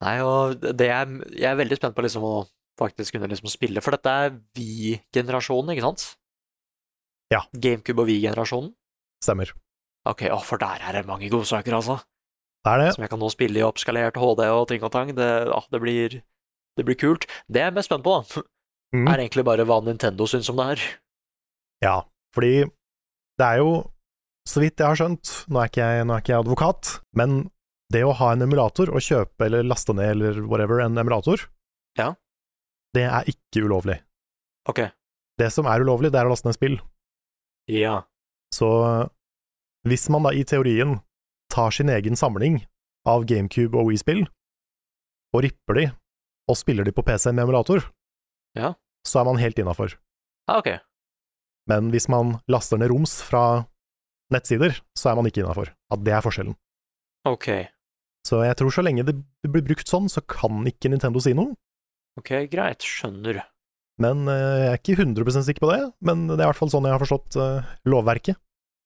B: Nei, og det er, jeg er veldig spent på liksom å faktisk kunne liksom spille, for dette er vi-generasjonen, ikke sant?
A: Ja.
B: GameCube og vi-generasjonen.
A: Stemmer.
B: Ok, å, for der er det mange godsaker, altså.
A: Det er det.
B: Som jeg kan nå spille i oppskalert HD og ting og tang. Det, å, det, blir, det blir kult. Det jeg er mest spent på, da,
A: Mm.
B: er egentlig bare hva Nintendo syns om det her.
A: Ja, fordi det er jo, så vidt jeg har skjønt, nå er ikke jeg, nå er ikke jeg advokat, men det å ha en emulator og kjøpe eller laste ned eller whatever en emulator,
B: Ja.
A: det er ikke ulovlig.
B: Ok.
A: Det som er ulovlig, det er å laste ned spill.
B: Ja.
A: Så hvis man da i teorien tar sin egen samling av GameCube og Wii-spill, og ripper de, og spiller de på PC med emulator,
B: Ja.
A: så er man helt innafor.
B: ja Ah, ok.
A: Men hvis man laster ned roms fra nettsider, så er man ikke innafor. At det er forskjellen.
B: Ok.
A: Så jeg tror så lenge det blir brukt sånn, så kan ikke Nintendo si noe.
B: Ok, greit. Skjønner.
A: Men eh, jeg er ikke 100 sikker på det, men det er i hvert fall sånn jeg har forstått eh, lovverket.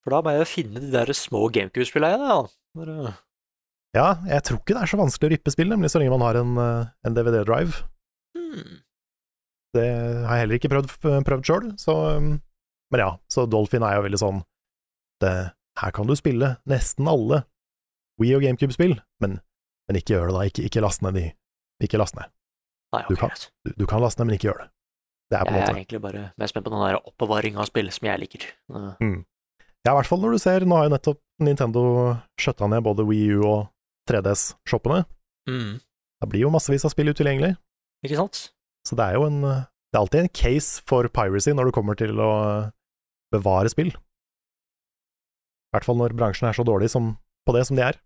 B: For da må jeg jo finne de der små GameCube-spillene igjen, da. øh, Bare-
A: Ja, jeg tror ikke det er så vanskelig å rippe spill, nemlig så lenge man har en, eh, en DVD-drive.
B: Hmm.
A: Det har jeg heller ikke prøvd, prøvd sjøl, så um, Men ja, så Dolphin er jo veldig sånn det, Her kan du spille nesten alle Wii og GameCube-spill, men, men ikke gjør det, da. Ikke, ikke last ned de. Ikke last ned.
B: Nei,
A: Du
B: ok,
A: kan-
B: greit.
A: du, du kan laste ned, men ikke gjør det. Det er på en
B: Jeg er
A: måte
B: egentlig bare mer spent på den der oppbevaring av spill som jeg liker. Eh,
A: Ja, i hvert fall når du ser Nå har jo nettopp Nintendo skjøtta ned både Wii U og 3DS-shoppene.
B: Hmm.
A: Det blir jo massevis av spill utilgjengelig,
B: Ikke sant?
A: så det er jo en Det er alltid en case for piracy når det kommer til å bevare spill. I hvert fall når bransjen er så dårlig som, på det som de er.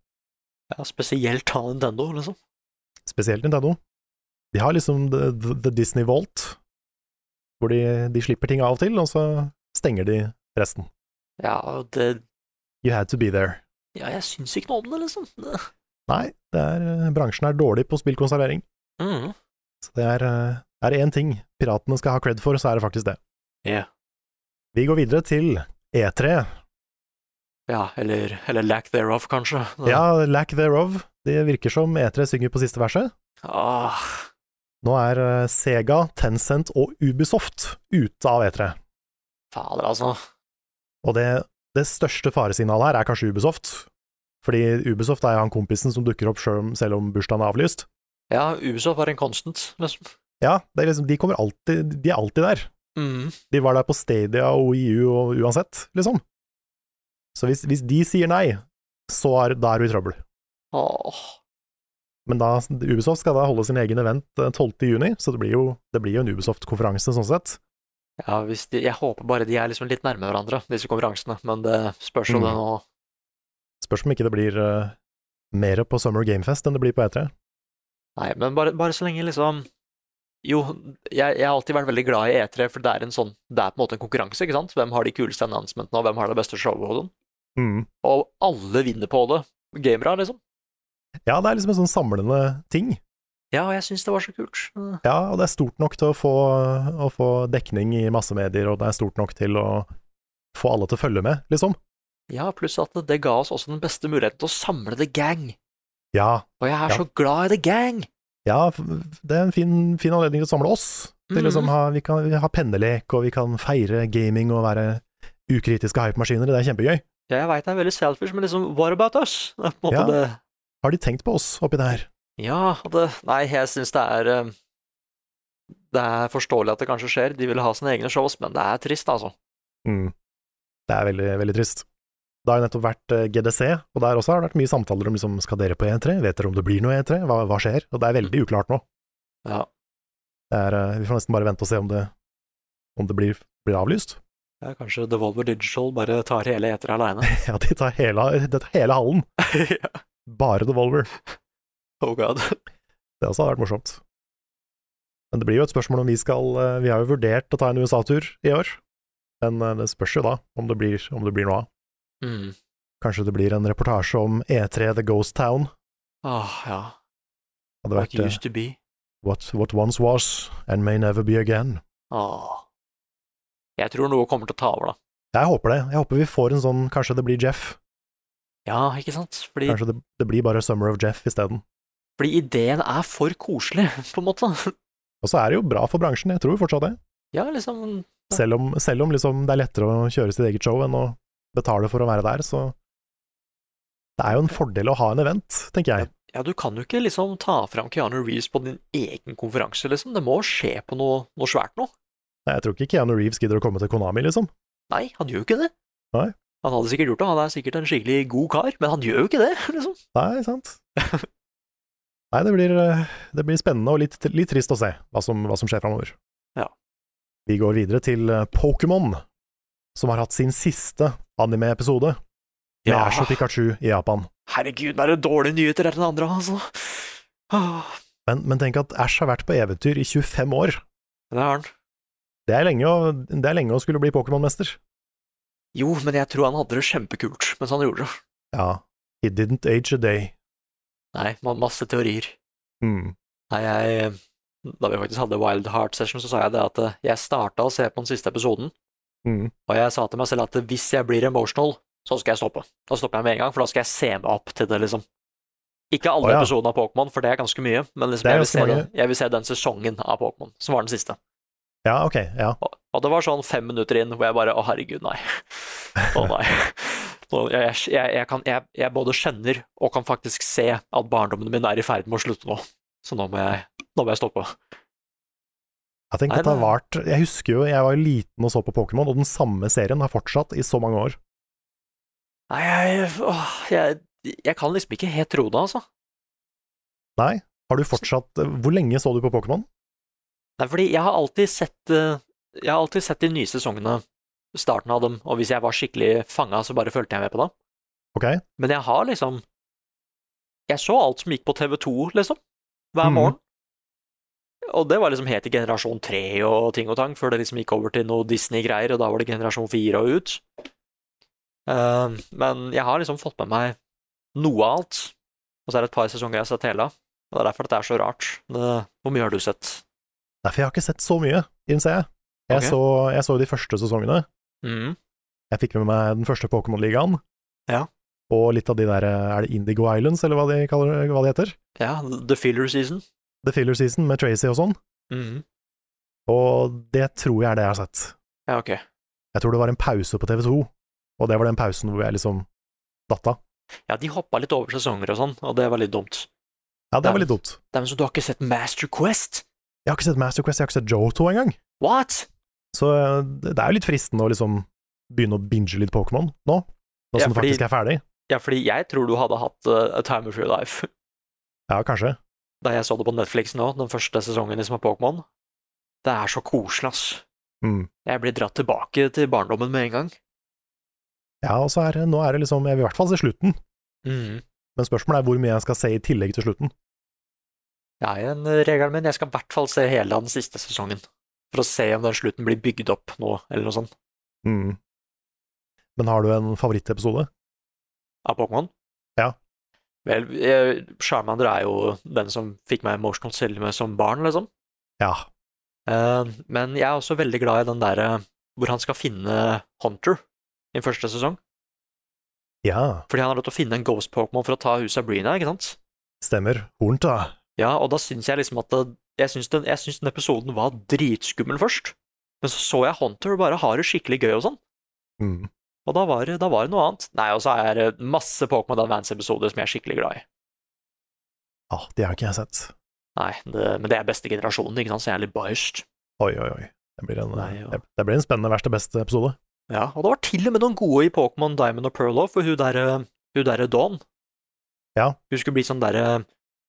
B: Ja, spesielt av Nintendo, liksom.
A: spesielt Nintendo. De har liksom The, the, the Disney Vault, hvor de, de slipper ting av og til, og så stenger de resten.
B: Ja, og det,
A: You had to be there.
B: ja jeg syns ikke noe om det, liksom. Det-
A: Nei, det er, bransjen er dårlig på spillkonservering.
B: Mm.
A: Så det er, eh, er det én ting piratene skal ha cred for, så er det faktisk det.
B: Ja.
A: Vi går videre til E E3.
B: Ja, eller, eller lack thereof, kanskje. Øh,
A: Ja, lack thereof. Det virker som E3 synger på siste verset.
B: Ah,
A: Nå er eh, Sega, Tencent og Ubisoft ute av E3.
B: fader, altså.
A: Og det, det største faresignalet her er kanskje Ubisoft. Fordi Ubisoft er han kompisen som dukker opp selv om, selv om bursdagen er avlyst.
B: Ja, Ubisoft var en constant, liksom.
A: Ja, det er liksom, de, kommer alltid, de er alltid der.
B: Mm.
A: De var der på Stadia og EU og uansett, liksom. Så hvis, hvis de sier nei, så er, da er du i trøbbel.
B: Åh.
A: Men da, Ubisoft skal da holde sin egen event eh, 12. juni, så det blir jo, det blir jo en Ubisoft-konferanse sånn sett.
B: Ja, hvis de, jeg håper bare de er liksom litt nærme hverandre, disse konferansene, men det spørs jo
A: Mm.
B: det nå.
A: Spørs om ikke det blir eh, mer på Summer Gamefest enn det blir på E E3.
B: Nei, men bare, bare så lenge liksom Jo, jeg, jeg har alltid vært veldig glad i E3, for det er en sånn Det er på en måte en konkurranse, ikke sant? Hvem har de kuleste announcementene, og hvem har det beste showet og sånn? Og alle vinner på det. Gamere, liksom.
A: Ja, det er liksom en sånn samlende ting.
B: Ja, jeg syns det var så kult. Mm.
A: Ja, og det er stort nok til å få, å få dekning i massemedier, og det er stort nok til å få alle til å følge med, liksom.
B: Ja, pluss at det ga oss også den beste muligheten til å samle The Gang.
A: Ja,
B: Og jeg er
A: Ja.
B: så glad i The Gang!
A: ja f- det er en fin, fin anledning til å samle oss. Til
B: Mhm.
A: liksom ha, vi kan ha pennelek, og vi kan feire gaming og være ukritiske hypemaskiner, det er kjempegøy.
B: Ja, jeg veit det er veldig selfish, men liksom, what about us? Det er på en måte
A: Ja.
B: det
A: Har de tenkt på oss oppi det her?
B: Ja, og det Nei, jeg syns det er eh, Det er forståelig at det kanskje skjer, de vil ha sine egne shows, men det er trist, altså.
A: Det er veldig, veldig trist. Det har jo nettopp vært eh, GDC, og der også har det vært mye samtaler om liksom, skal dere på E3, vet dere om det blir noe E3, hva, hva skjer? Og det er veldig uklart nå.
B: Ja.
A: Det er, eh, vi får nesten bare vente og se om det, om det blir, blir avlyst.
B: Ja, kanskje Devolver Digital bare tar hele eter aleine.
A: Ja, de tar hele, de tar hele hallen, bare Devolver.
B: oh god.
A: Det også hadde vært morsomt. Men det blir jo et spørsmål om vi skal eh, Vi har jo vurdert å ta en USA-tur i år, men eh, det spørs jo da om det blir, om det blir noe av.
B: Mm.
A: Kanskje det blir en reportasje om E3 The Ghost Town.
B: Ah, ja.
A: Hadde
B: Like
A: vært, eh,
B: used to be.
A: What, what once was, and may never be again.
B: Ah. Jeg tror noe kommer til å ta over, da.
A: Jeg håper det. Jeg håper vi får en sånn Kanskje det blir Jeff.
B: Ja, ikke sant? Fordi,
A: Kanskje det, det blir bare Summer of Jeff isteden.
B: fordi ideen er for koselig, på en måte.
A: Og så er det jo bra for bransjen, jeg tror fortsatt det.
B: Ja, liksom
A: Selv om, selv om liksom det er lettere å kjøre sitt eget show enn å betale for å være der, så Det er jo en fordel å ha en event, tenker jeg.
B: Ja, du kan jo ikke liksom ta fram Keanu Reeves på din egen konferanse, liksom. Det må skje på noe, noe svært nå.
A: Nei, Jeg tror ikke Keanu Reeves gidder å komme til Konami, liksom.
B: Nei, han gjør jo ikke det.
A: Nei.
B: Han hadde sikkert gjort det, han er sikkert en skikkelig god kar, men han gjør jo ikke det, liksom.
A: Nei, sant? Nei, det blir, eh, det blir spennende og litt, litt trist å se hva som, hva som skjer framover.
B: Ja.
A: Vi går videre til eh, Pokémon, som har hatt sin siste anime-episode med
B: Ja.
A: Ash og Pikachu i Japan.
B: Herregud, det er det dårlige nyheter etter den andre, altså. Ah,
A: Men, men tenk at Ash har vært på eventyr i 25 år.
B: Det er han.
A: Det er lenge å, det er lenge å skulle bli Pokémon-mester.
B: Jo, men jeg tror han hadde det kjempekult mens han gjorde det.
A: Ja, he didn't age a day.
B: Nei, ma- masse teorier.
A: Mm.
B: Nei, jeg Da vi faktisk hadde Wild Heart Session, så sa jeg det at eh, jeg starta å se på den siste episoden,
A: Mm.
B: og jeg sa til meg selv at eh, hvis jeg blir emotional, så skal jeg stoppe. Da stopper jeg med en gang, for da skal jeg se meg opp til det, liksom. Ikke alle
A: Å, ja.
B: episodene av Pokémon, for det er ganske mye, men
A: Det
B: liksom,
A: er
B: jeg, vil
A: ganske
B: se den,
A: mange.
B: jeg vil se den sesongen av Pokémon, som var den siste.
A: Ja, ok, ja.
B: Og, og det var sånn fem minutter inn hvor jeg bare Å, herregud, nei. Å, nei. Nå, Jeg, jeg, jeg, kan, jeg, jeg både kjenner og kan faktisk se at barndommen min er i ferd med å slutte nå. Så nå må jeg, nå må jeg stoppe.
A: Jeg tenker
B: Nei,
A: at det har
B: nei.
A: vært Jeg husker jo jeg var jo liten og så på Pokémon, og den samme serien har fortsatt i så mange år.
B: Nei, jeg, åh, jeg, jeg kan liksom ikke helt tro det, altså.
A: Nei, har du fortsatt eh, Hvor lenge så du på Pokémon?
B: Nei, fordi jeg har alltid sett eh, Jeg har alltid sett de nye sesongene, starten av dem, og hvis jeg var skikkelig fanga, så bare fulgte jeg med på det.
A: Ok,
B: Men jeg har liksom Jeg så alt som gikk på TV2, liksom, hver
A: Mhm.
B: morgen. Og det var liksom helt til generasjon tre og ting og tang, før det liksom gikk over til noe Disney-greier, og da var det generasjon fire og ut. Eh, men jeg har liksom fått med meg noe av alt. Og så er det et par sesonger jeg har sett hele. Og det er derfor at det er så rart. Det, hvor mye har du sett?
A: Nei, for jeg har ikke sett så mye, innser jeg. Jeg,
B: Ok.
A: så, jeg så de første sesongene,
B: Mm.
A: Jeg fikk med meg den første Pokémon-ligaen.
B: Ja.
A: Og litt av de der eh, Er det Indigo Islands, eller hva de, kaller, hva de heter?
B: Ja, The Filler Season.
A: The Filler Season med Tracy og sånn.
B: Mm.
A: Og det tror jeg er det jeg har sett.
B: Ja, ok.
A: Jeg tror det var en pause på TV2, og det var den pausen hvor jeg liksom datt av.
B: Ja, de hoppa litt over sesonger og sånn, og det var litt dumt.
A: Ja,
B: Nei.
A: det var litt dumt.
B: Det er vel så du har ikke sett Master Quest?
A: Jeg har ikke sett Master Quest, jeg har ikke sett Joto engang.
B: What?
A: Så eh, det er jo litt fristende å liksom begynne å binge litt Pokémon nå, nå
B: Ja,
A: som det
B: fordi-
A: faktisk er ferdig.
B: Ja, fordi jeg tror du hadde hatt eh, A Time of Your Life
A: Ja, kanskje.
B: da jeg så det på Netflix nå, den første sesongen liksom av Pokémon. Det er så koselig, ass.
A: Mm.
B: Jeg blir dratt tilbake til barndommen med en gang.
A: Ja, og så er det, nå er det liksom Jeg vil i hvert fall se slutten,
B: Mm.
A: men spørsmålet er hvor mye jeg skal se i tillegg til slutten.
B: Det er en eh, regel min, jeg skal i hvert fall se hele den siste sesongen. For å se om den slutten blir bygd opp nå, eller noe sånt.
A: Mm. Men har du en favorittepisode?
B: Av Pokémon.
A: Ja.
B: Vel, eh, Charmander er jo den som fikk meg emotionalt selv med som barn, liksom.
A: Ja.
B: Eh, men jeg er også veldig glad i den derre hvor han skal finne Hunter i første sesong.
A: Ja,
B: Fordi han har lov til å finne en ghost Pokémon for å ta huset av Brina, ikke sant?
A: stemmer. Hornt, da.
B: Ja, og da syns jeg liksom at det, jeg, syns den, jeg syns den episoden var dritskummel først. Men så så jeg Hunter og bare har det skikkelig gøy og sånn.
A: Mm.
B: Og da var, det- da var det noe annet. Nei, og så er det masse Pokémon Advance-episoder som jeg er skikkelig glad i.
A: Ja, de har ikke jeg sett.
B: Nei, det, men det er beste generasjonen, ikke sant, så jeg er litt biased.
A: Oi, oi, oi. Det blir en,
B: Nei, ja.
A: det, det blir en spennende verste beste episode.
B: Ja, og det var til og med noen gode i Pokémon Diamond og Pearl òg, for hun derre hun derre Dawn.
A: Ja.
B: Hun skulle bli sånn derre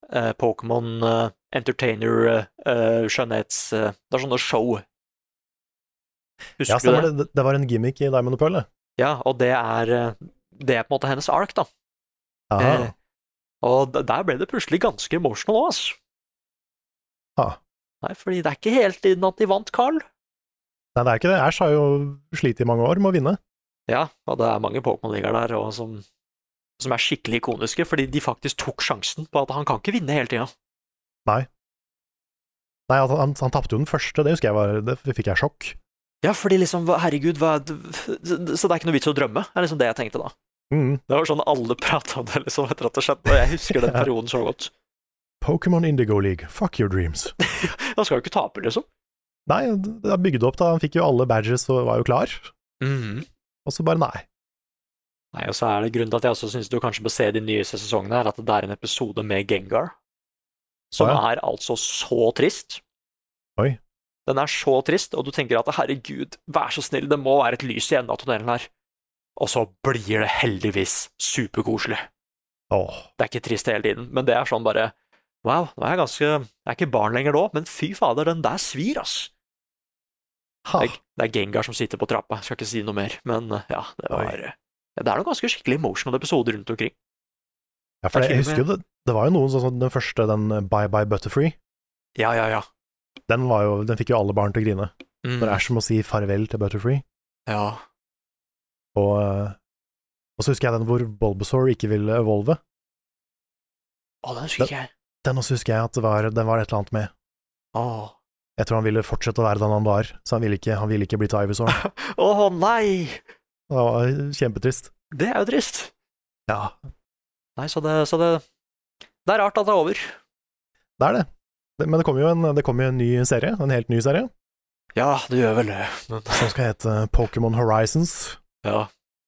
B: eh, Pokémon eh, entertainer, eh, eh, skjønnhets... eh, det er sånne show. Husker du det?
A: Ja, stemmer det. Det var en gimmick i Diamond og Pearl, det.
B: Ja, og det er eh, Det er på en måte hennes ark, da.
A: Aha.
B: Eh, og d- der ble det plutselig ganske emotional òg, altså.
A: Ah.
B: Nei, fordi det er ikke hele tiden at de vant, Carl.
A: Nei, det er ikke det. Æsj har jo slitt i mange år med å vinne.
B: Ja, og det er mange Pokémon-ligaer der og som, som er skikkelig ikoniske, fordi de faktisk tok sjansen på at han kan ikke vinne hele tida.
A: Nei, altså, han, han, han tapte jo den første, det husker jeg var Det fikk jeg sjokk.
B: Ja, fordi liksom, hva- herregud, hva Så det er ikke noe vits å drømme, er liksom det jeg tenkte da.
A: Mm.
B: Det var sånn alle prata om det liksom etter at det skjedde, og jeg husker den
A: Ja.
B: perioden så godt.
A: Pokémon Indigo League, fuck your dreams.
B: Han skal jo ikke tape, liksom.
A: Nei, det er bygd opp da, han fikk jo alle badges og var jo klar,
B: Mhm.
A: og så bare nei.
B: Nei, og så er det grunnen til at jeg også syns du kanskje bør se de nyeste sesongene, er at det er en episode med Gengar som
A: Å, ja.
B: er altså så trist.
A: Oi.
B: Den er så trist, og du tenker at herregud, vær så snill, det må være et lys i enden av tunnelen her. Og så blir det heldigvis superkoselig.
A: Åh,
B: Det er ikke trist hele tiden, men det er sånn bare Wow, nå er jeg ganske Jeg er ikke barn lenger nå, men fy fader, den der svir, ass.
A: ha.
B: Det er, det er Gengar som sitter på trappa, jeg skal ikke si noe mer, men eh, ja, det
A: Oi.
B: var ja, Det er noen ganske skikkelig emotional episoder rundt omkring.
A: Ja, for
B: det er
A: jeg
B: til
A: husker jo det, det var jo noen sånn som den første, den eh, Bye Bye Butterfree,
B: Ja, ja, ja.
A: den var jo, den fikk jo alle barn til å grine.
B: Mm.
A: Når det er som å si farvel til Butterfree,
B: Ja.
A: og, eh, og så husker jeg den hvor Bulbasaur ikke ville evolve.
B: Å, den husker
A: Den-
B: ikke jeg.
A: Den også husker jeg at det var, den var et eller annet med.
B: Å
A: Jeg tror han ville fortsette å være den han var, så han ville ikke, han ville ikke bli til Ivysaur.
B: Å, nei!
A: Det var kjempetrist.
B: Det er jo trist.
A: Ja,
B: Nei, så det, så det Det er rart at det er over.
A: det er det. Det- Men det kommer jo en, det kommer jo en ny serie, en helt ny serie,
B: Ja, det gjør vel det. Men
A: som skal hete Pokémon Horizons
B: ja.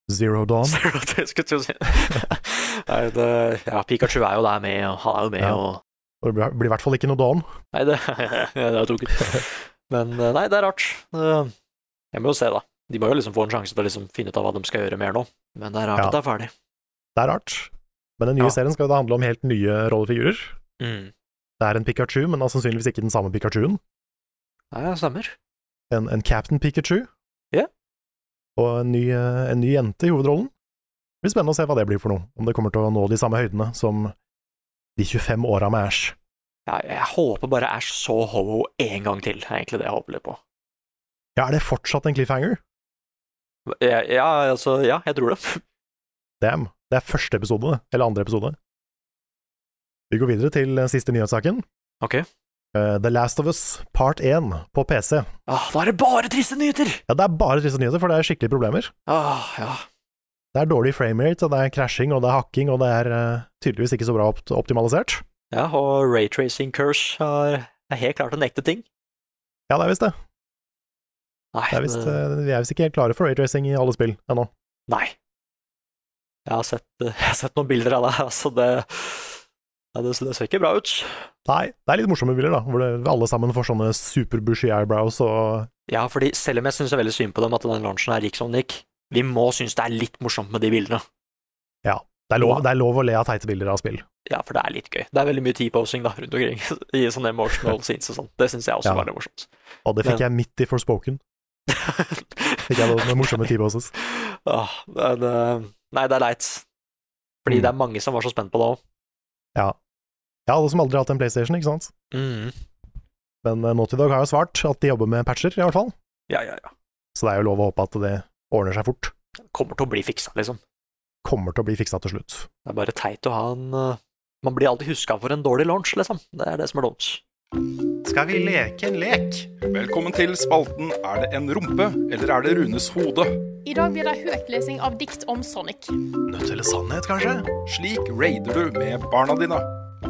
A: Zero Dawn.
B: Ser du at jeg skulle til å si Nei, det Ja, Pikachu er jo der med, og han er jo med,
A: Ja.
B: og
A: Og det blir- blir i hvert fall ikke noe Dawn.
B: Nei, det Det er tungt. Men eh, nei, det er rart. Det- Jeg må jo se, da. De må jo liksom få en sjanse til å liksom finne ut av hva de skal gjøre mer nå. Men det er rart
A: Ja.
B: at det er ferdig.
A: Det er rart. Men den nye
B: Ja.
A: serien skal jo da handle om helt nye rollefigurer.
B: Mm.
A: Det er en Pikachu, men da sannsynligvis ikke den samme Pikachuen.
B: Nei, det stemmer.
A: En, en Captain Pikachu.
B: Ja.
A: Og en ny, eh, en ny jente i hovedrollen. Det blir spennende å se hva det blir for noe, om det kommer til å nå de samme høydene som de 25 åra med Ash.
B: Jeg, jeg håper bare Ash så Ho-Ho en gang til, er egentlig det jeg håper litt på.
A: Ja, er det fortsatt en cliffhanger?
B: Ja, ja, altså, ja, jeg tror det.
A: Damn. Det er første episode, eller andre episode. Vi går videre til eh, siste nyhetssaken.
B: Ok.
A: eh, The Last of Us Part 1 på PC.
B: Åh, nå er det bare triste nyheter!
A: Ja, det er bare triste nyheter, for det er skikkelige problemer.
B: Åh, ja.
A: Det er dårlig framerate, og det er crashing, og det er hakking, og det er eh, tydeligvis ikke så bra opt optimalisert.
B: ja, og raytracing curse er, er helt klart en ekte ting.
A: Ja, det er visst det.
B: Nei,
A: det er visst,
B: det-
A: eh, vi er visst ikke helt klare for raytracing i alle spill ennå.
B: nei. Jeg har sett, jeg har sett noen bilder av det, altså det, ja, det, det ser ikke bra ut.
A: Nei, det er litt morsomme bilder, da, hvor det, alle sammen får sånne superbushy eyebrows og
B: Ja, fordi selv om jeg syns veldig synd på dem at den lunsjen her gikk som den gikk, vi må synes det er litt morsomt med de bildene.
A: det er, lov, det er lov å le av teite bilder av spill.
B: Ja, for det er litt gøy. Det er veldig mye T-posing da rundt omkring i sånne emotional scenes og sånn. Det syns jeg også
A: Ja.
B: var litt morsomt.
A: Og det fikk
B: Ja.
A: jeg midt i Forspoken. Fikk jeg noen morsomme T-poses.
B: Åh, men, eh, nei, det er leit. Fordi
A: Mm.
B: det er mange som var så spent på det òg.
A: Ja, alle som aldri har hatt en PlayStation, ikke sant?
B: Mm.
A: Men eh, Naughty Dog har jo svart at de jobber med patcher, i hvert fall.
B: Ja, ja, ja.
A: Så det er jo lov å håpe at det ordner seg fort.
B: Kommer til å bli fiksa, liksom.
A: Kommer til å bli fiksa til slutt.
B: Det er bare teit å ha en eh, Man blir alltid huska for en dårlig launch, liksom. Det er det som er dumt.
E: Skal vi leke en lek?
C: Velkommen til spalten Er det en rumpe, eller er det Runes hode?
D: I dag blir det høytlesing av dikt om Sonic.
E: Nødt eller sannhet, kanskje?
C: Slik raider du med barna dine.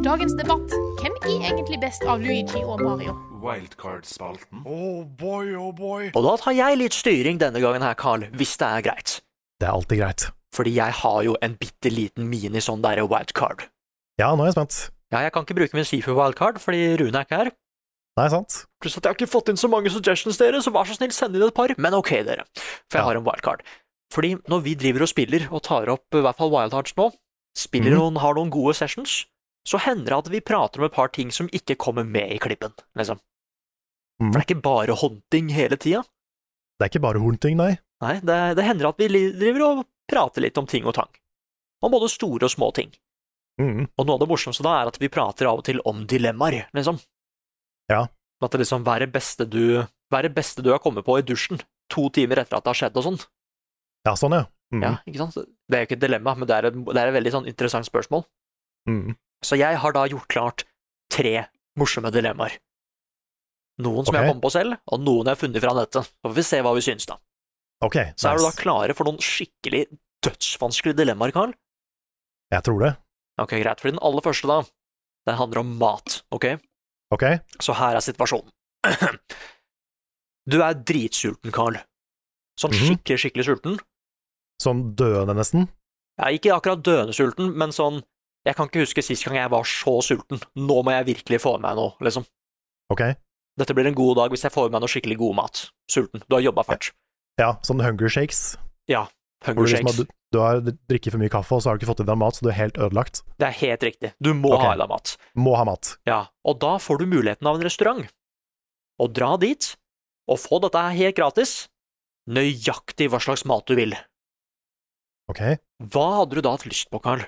D: Dagens debatt hvem er egentlig best av Luigi og Mario?
E: Wildcard-spalten. Oh boy, oh boy.
B: Og da tar jeg litt styring denne gangen her, Carl, hvis det er greit.
A: Det er alltid greit.
B: Fordi jeg har jo en bitte liten mini sånn derre wildcard.
A: Ja, nå er jeg spent.
B: Ja, jeg kan ikke bruke min Sifu wildcard fordi Rune er ikke her.
A: Nei, sant?
B: Pluss at jeg har ikke fått inn så mange suggestions, dere, så vær så snill, send inn et par. Men ok, dere, for jeg
A: Ja.
B: har en wildcard. Fordi når vi driver og spiller, og tar opp i hvert fall wildcards nå, spiller
A: Mhm.
B: noen, har noen gode sessions, så hender det at vi prater om et par ting som ikke kommer med i klippen, liksom.
A: Mhm.
B: For det er ikke bare håndting hele tida.
A: Det er ikke bare hornting, nei.
B: Nei, det, det hender at vi li- driver og prater litt om ting og tang. Om både store og små ting.
A: Mm.
B: Og noe av det morsomste da er at vi prater av og til om dilemmaer, liksom.
A: Ja.
B: At det liksom, hva er det beste du, hva er det beste du har kommet på i dusjen, to timer etter at det har skjedd og sånn?
A: Ja, sånn, ja. Mm.
B: Ja, ikke sant? Det er jo ikke et dilemma, men det er, et- det er et veldig sånn interessant spørsmål.
A: Mm.
B: Så jeg har da gjort klart tre morsomme dilemmaer. Noen som
A: Ok.
B: jeg kom på selv, og noen jeg har funnet fra nettet. Så får vi se hva vi syns, da.
A: Ok,
B: Så er du da
A: nice.
B: klare for noen skikkelig dødsvanskelige dilemmaer, Karl?
A: Jeg tror det.
B: Ok, greit, for den aller første, da, den handler om mat, ok?
A: Ok,
B: Så her er situasjonen. Du er dritsulten, Carl. Sånn
A: Mhm.
B: skikkelig, skikkelig sulten.
A: sånn døende nesten.
B: Ja, ikke akkurat døende sulten, men sånn Jeg kan ikke huske sist gang jeg var så sulten. Nå må jeg virkelig få i meg noe, liksom.
A: Ok.
B: Dette blir en god dag hvis jeg får i meg noe skikkelig god mat. Sulten. Du har jobba fælt.
A: Ja, sånn hunger shakes.
B: Hunger
A: Hvor du, liksom
B: shakes.
A: har, du, du har drikket for mye kaffe, og så har du ikke fått i deg mat, så du er helt ødelagt.
B: Det er helt riktig. Du må
A: Ok.
B: ha i deg mat.
A: Må ha mat.
B: Ja, og da får du muligheten av en restaurant. Å dra dit og få dette her helt gratis, nøyaktig hva slags mat du vil.
A: Ok.
B: Hva hadde du da hatt lyst på, Karl?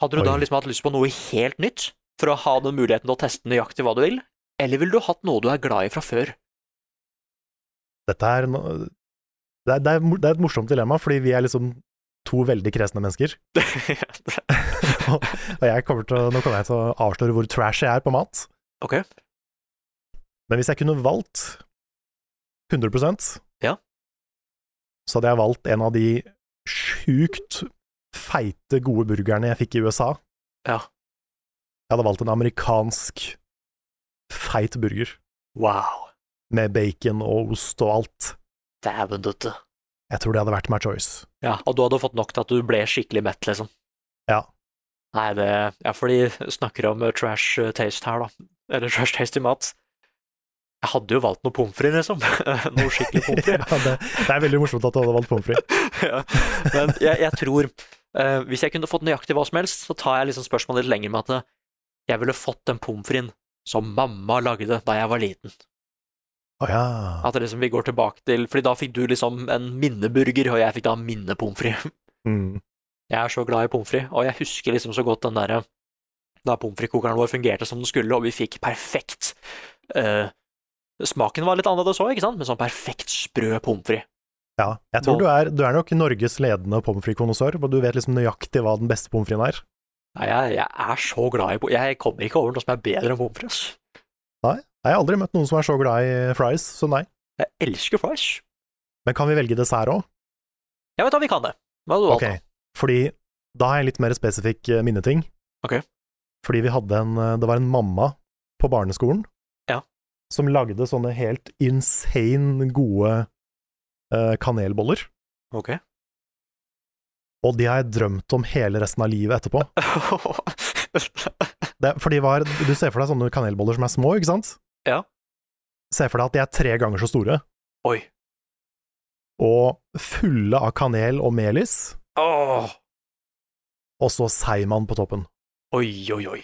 B: Hadde du da
A: Oi.
B: liksom hatt lyst på noe helt nytt, for å ha den muligheten til å teste nøyaktig hva du vil, eller ville du hatt noe du er glad i fra før?
A: Dette er no... det, er, det, er, mor- det er et morsomt dilemma, fordi vi er liksom to veldig kresne mennesker. Og jeg kommer til, å- nå kommer jeg til å avsløre hvor trash jeg er på mat.
B: ok,
A: Men hvis jeg kunne valgt 100
B: Ja.
A: så hadde jeg valgt en av de sjukt feite, gode burgerne jeg fikk i USA.
B: Ja.
A: Jeg hadde valgt en amerikansk feit burger
B: wow,
A: med bacon og ost og alt.
B: dæven døtte.
A: Jeg tror det hadde vært my choice.
B: Ja, og du hadde fått nok til at du ble skikkelig mett, liksom.
A: Ja.
B: Nei, det Ja, for de snakker om eh, trash eh, taste her, da. Eller trash taste i mat. Jeg hadde jo valgt noe pommes frites, liksom. noe skikkelig pommes frites.
A: Ja, det, det er veldig morsomt at du hadde valgt pommes frites.
B: Ja. Men jeg, jeg tror eh, Hvis jeg kunne fått nøyaktig hva som helst, så tar jeg liksom spørsmålet litt lenger med at eh, jeg ville fått den pommes fritesen som mamma lagde da jeg var liten.
A: Å ja.
B: At det liksom vi går tilbake til Fordi da fikk du liksom en minneburger, og jeg fikk da minnepommes frites.
A: Mm.
B: Jeg er så glad i pommes frites, og jeg husker liksom så godt den derre da pommes frites-kokeren vår fungerte som den skulle, og vi fikk perfekt eh, Smaken var litt annerledes òg, ikke sant, men sånn perfekt sprø pommes frites.
A: ja. Jeg tror du er, du er nok Norges ledende pommes frites-konnoissør, og du vet liksom nøyaktig hva den beste pommes fritesen er.
B: Nei, jeg, jeg er så glad i po- Jeg kommer ikke over noe som er bedre enn pommes frites.
A: Jeg har aldri møtt noen som er så glad i fries som deg.
B: Jeg elsker fries.
A: Men kan vi velge dessert òg?
B: Jeg vet da vi kan det. Hva hadde du valgt?
A: Ok, fordi da har jeg en litt mer spesifikk eh, minneting.
B: Ok.
A: Fordi vi hadde en eh, Det var en mamma på barneskolen
B: Ja.
A: som lagde sånne helt insane gode eh, kanelboller.
B: Ok.
A: Og de har jeg drømt om hele resten av livet etterpå. Det, for de var Du ser for deg sånne kanelboller som er små, ikke sant?
B: Ja.
A: Se for deg at de er tre ganger så store,
B: Oi.
A: og fulle av kanel og melis,
B: Åh.
A: og så seigmann på toppen.
B: Oi, oi, oi.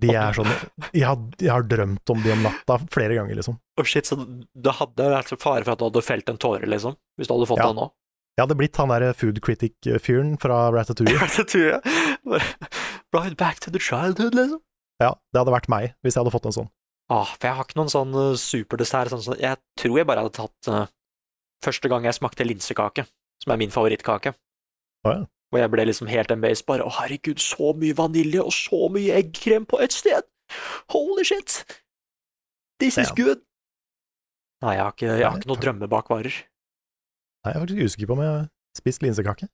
A: De er sånn jeg har, jeg har drømt om de om natta flere ganger, liksom.
B: Å Oh, shit, så det hadde vært fare for at du hadde felt en tåre, liksom? Hvis du hadde fått
A: Ja.
B: den nå?
A: Jeg hadde blitt han der food critic-fyren fra Ratatouille.
B: Det tror jeg. Bare, Right back to the childhood, liksom.
A: Ja, det hadde vært meg hvis jeg hadde fått en sånn.
B: Ah, for jeg har ikke noen sånn eh, superdessert. Sånn, som- jeg tror jeg bare hadde tatt eh, Første gang jeg smakte linsekake, som er min favorittkake,
A: Å ja.
B: hvor jeg ble liksom helt amazed. Bare å herregud, så mye vanilje og så mye eggkrem på ett sted! Holy shit! This is
A: Damn.
B: good! Nei, jeg har ikke, jeg har ikke noen drømmebakvarer.
A: Nei, jeg er faktisk usikker på om jeg har spist linsekake.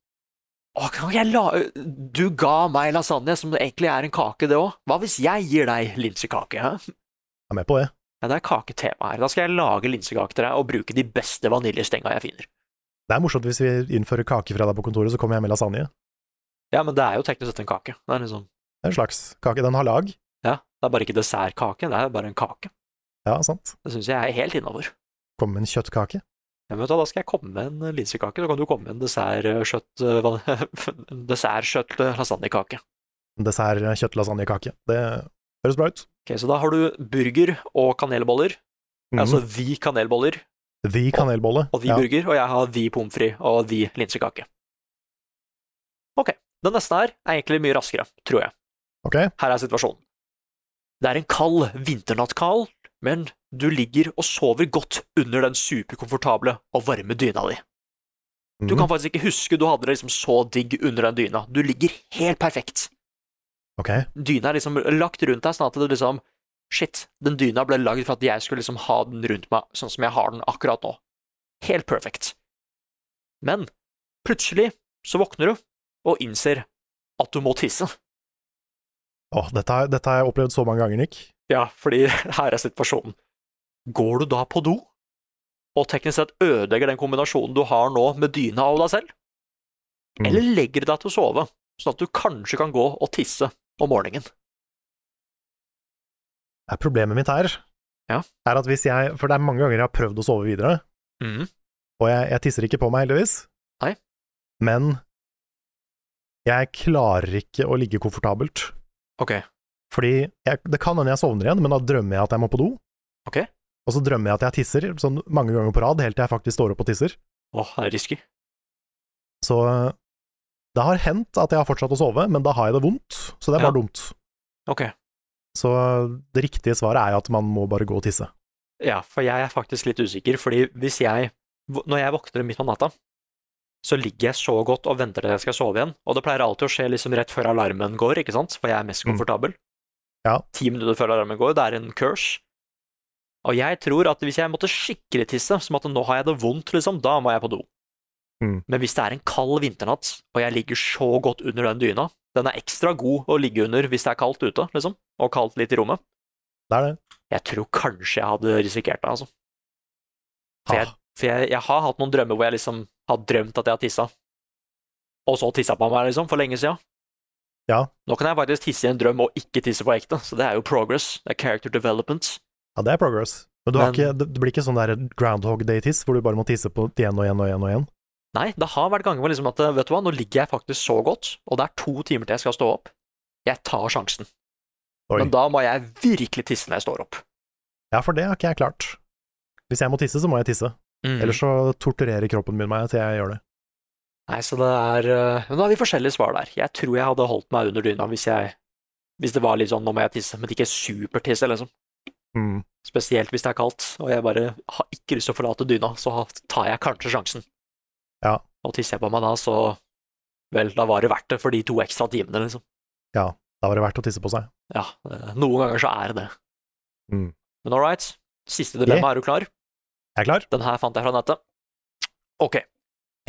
B: Å, kan jeg la Du ga meg lasagne, som egentlig er en kake, det òg. Hva hvis jeg gir deg linsekake? Hæ?
A: Jeg er med på det.
B: Ja, det er kaketema her. Da skal jeg lage linsekake til deg og bruke de beste vaniljestenga jeg finner.
A: Det er morsomt hvis vi innfører kakefredag på kontoret, så kommer jeg med lasagne.
B: Ja, men det er jo teknisk sett en kake. Det er liksom
A: Det er en slags kake. Den har lag.
B: Ja, det er bare ikke dessertkake, det er bare en kake.
A: Ja, sant.
B: Det syns jeg er helt innafor.
A: Kommer med en kjøttkake.
B: Ja, men vet du, hva, da skal jeg komme med en linsekake, så kan du komme med en dessertkjøtt... eh, van- en Dessertkjøtt eh, lasagnekake.
A: Dessert kjøttlasagnekake. Det høres bra ut.
B: Ok, så da har du burger og kanelboller.
A: Mm.
B: Altså vi kanelboller
A: the kanelbolle.
B: og vi
A: Ja.
B: burger, og jeg har vi pommes frites og vi linsekake. Ok. Den neste her er egentlig mye raskere, tror jeg.
A: Ok,
B: Her er situasjonen. Det er en kald vinternattkald, men du ligger og sover godt under den superkomfortable og varme dyna di. Du
A: Mhm.
B: kan faktisk ikke huske du hadde det liksom så digg under den dyna. Du ligger helt perfekt.
A: Mm, ok.
B: Dyna er liksom lagt rundt deg sånn at det liksom Shit, den dyna ble lagd for at jeg skulle liksom ha den rundt meg sånn som jeg har den akkurat nå. Helt perfekt. Men plutselig så våkner du og innser at du må tisse.
A: Åh, dette, har- dette har jeg opplevd så mange ganger, Nick.
B: Ja, fordi her er situasjonen. Går du da på do, og teknisk sett ødelegger den kombinasjonen du har nå med dyna og deg selv?
A: Mm.
B: Eller legger du deg til å sove, sånn at du kanskje kan gå og tisse om morgenen?
A: Det er problemet mitt her.
B: Ja.
A: Er at hvis jeg, for det er mange ganger jeg har prøvd å sove videre,
B: Mhm.
A: og jeg, jeg tisser ikke på meg heldigvis.
B: Nei.
A: Men jeg klarer ikke å ligge komfortabelt.
B: Ok.
A: Fordi jeg, det kan hende jeg sovner igjen, men da drømmer jeg at jeg må på do.
B: Ok.
A: Og så drømmer jeg at jeg tisser sånn mange ganger på rad, helt til jeg faktisk står opp og tisser.
B: Åh, det er risky.
A: Så det har hendt at jeg har fortsatt å sove, men da har jeg det vondt, så det er
B: Ja.
A: bare dumt.
B: Ok.
A: Så det riktige svaret er jo at man må bare gå og tisse.
B: Ja, for jeg er faktisk litt usikker, fordi hvis jeg Når jeg våkner midt på natta, så ligger jeg så godt og venter til jeg skal sove igjen, og det pleier alltid å skje liksom rett før alarmen går, ikke sant, for jeg er mest
A: Mm.
B: komfortabel.
A: Ja.
B: Ti minutter før alarmen går, det er en curse. Og jeg tror at hvis jeg måtte skikkelig tisse, som at nå har jeg det vondt, liksom, da må jeg på do.
A: Mm.
B: Men hvis det er en kald vinternatt, og jeg ligger så godt under den dyna, den er ekstra god å ligge under hvis det er kaldt ute, liksom, og kaldt litt i rommet,
A: Det er det.
B: jeg tror kanskje jeg hadde risikert det, altså. For,
A: Ah.
B: jeg, for jeg, jeg har hatt noen drømmer hvor jeg liksom har drømt at jeg har tissa, og så tissa på meg, liksom, for lenge siden.
A: Ja.
B: Nå kan jeg faktisk tisse i en drøm og ikke tisse på ekte, så det er jo progress. Det er character development.
A: Ja, det er progress. Men, du har
B: Men-
A: ikke, det det blir ikke sånn der Groundhog Day-tiss, hvor du bare må tisse på det igjen og igjen og igjen. og igjen.
B: Nei, det har vært ganger hvor liksom at, vet du hva, nå ligger jeg faktisk så godt, og det er to timer til jeg skal stå opp. Jeg tar sjansen,
A: Oi.
B: men da må jeg virkelig tisse når jeg står opp.
A: Ja, for det har ikke jeg klart. Hvis jeg må tisse, så må jeg tisse.
B: Mm.
A: Ellers så torturerer kroppen min meg til jeg gjør det.
B: Nei, så det er eh, Men da har vi forskjellige svar der. Jeg tror jeg hadde holdt meg under dyna hvis jeg Hvis det var litt sånn 'nå må jeg tisse', men ikke supertisse, liksom.
A: Mm.
B: Spesielt hvis det er kaldt, og jeg bare har ikke lyst til å forlate dyna, så tar jeg kanskje sjansen.
A: Ja.
B: Og tisser jeg på meg da, så Vel, da var det verdt det for de to ekstra timene, liksom.
A: Ja, da var det verdt å tisse på seg.
B: Ja, eh, noen ganger så er det det.
A: Mm.
B: Men all right, siste dilemma,
A: Yeah.
B: er du klar?
A: Jeg er klar.
B: Den her fant jeg fra nettet. Ok.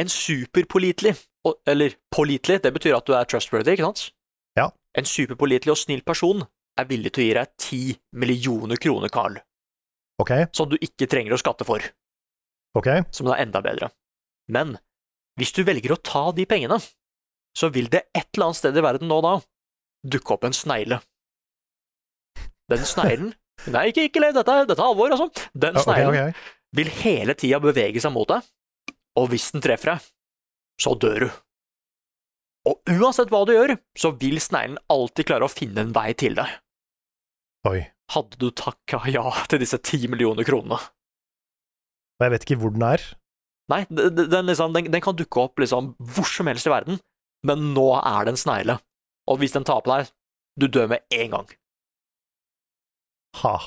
B: En superpålitelig, og- eller pålitelig, det betyr at du er trustworthy, ikke sant?
A: Ja.
B: En superpålitelig og snill person er villig til å gi deg 10 millioner kroner, Carl,
A: Ok,
B: som du ikke trenger å skatte for,
A: ok.
B: som er enda bedre. Men hvis du velger å ta de pengene, så vil det et eller annet sted i verden nå og da dukke opp en snegle. Den sneglen Nei, ikke, ikke le, dette er, dette er alvor, altså. Den
A: Ja, ok,
B: sneglen
A: ok.
B: vil hele tida bevege seg mot deg, og hvis den treffer deg, så dør du. Og uansett hva du gjør, så vil sneglen alltid klare å finne en vei til deg.
A: Oi.
B: Hadde du takka ja til disse ti millioner kronene?
A: Og jeg vet ikke hvor den er.
B: Nei, d- d- den, liksom, den, den kan dukke opp liksom hvor som helst i verden, men nå er det en snegle. Og hvis den tar på deg, du dør med en gang.
A: Ha.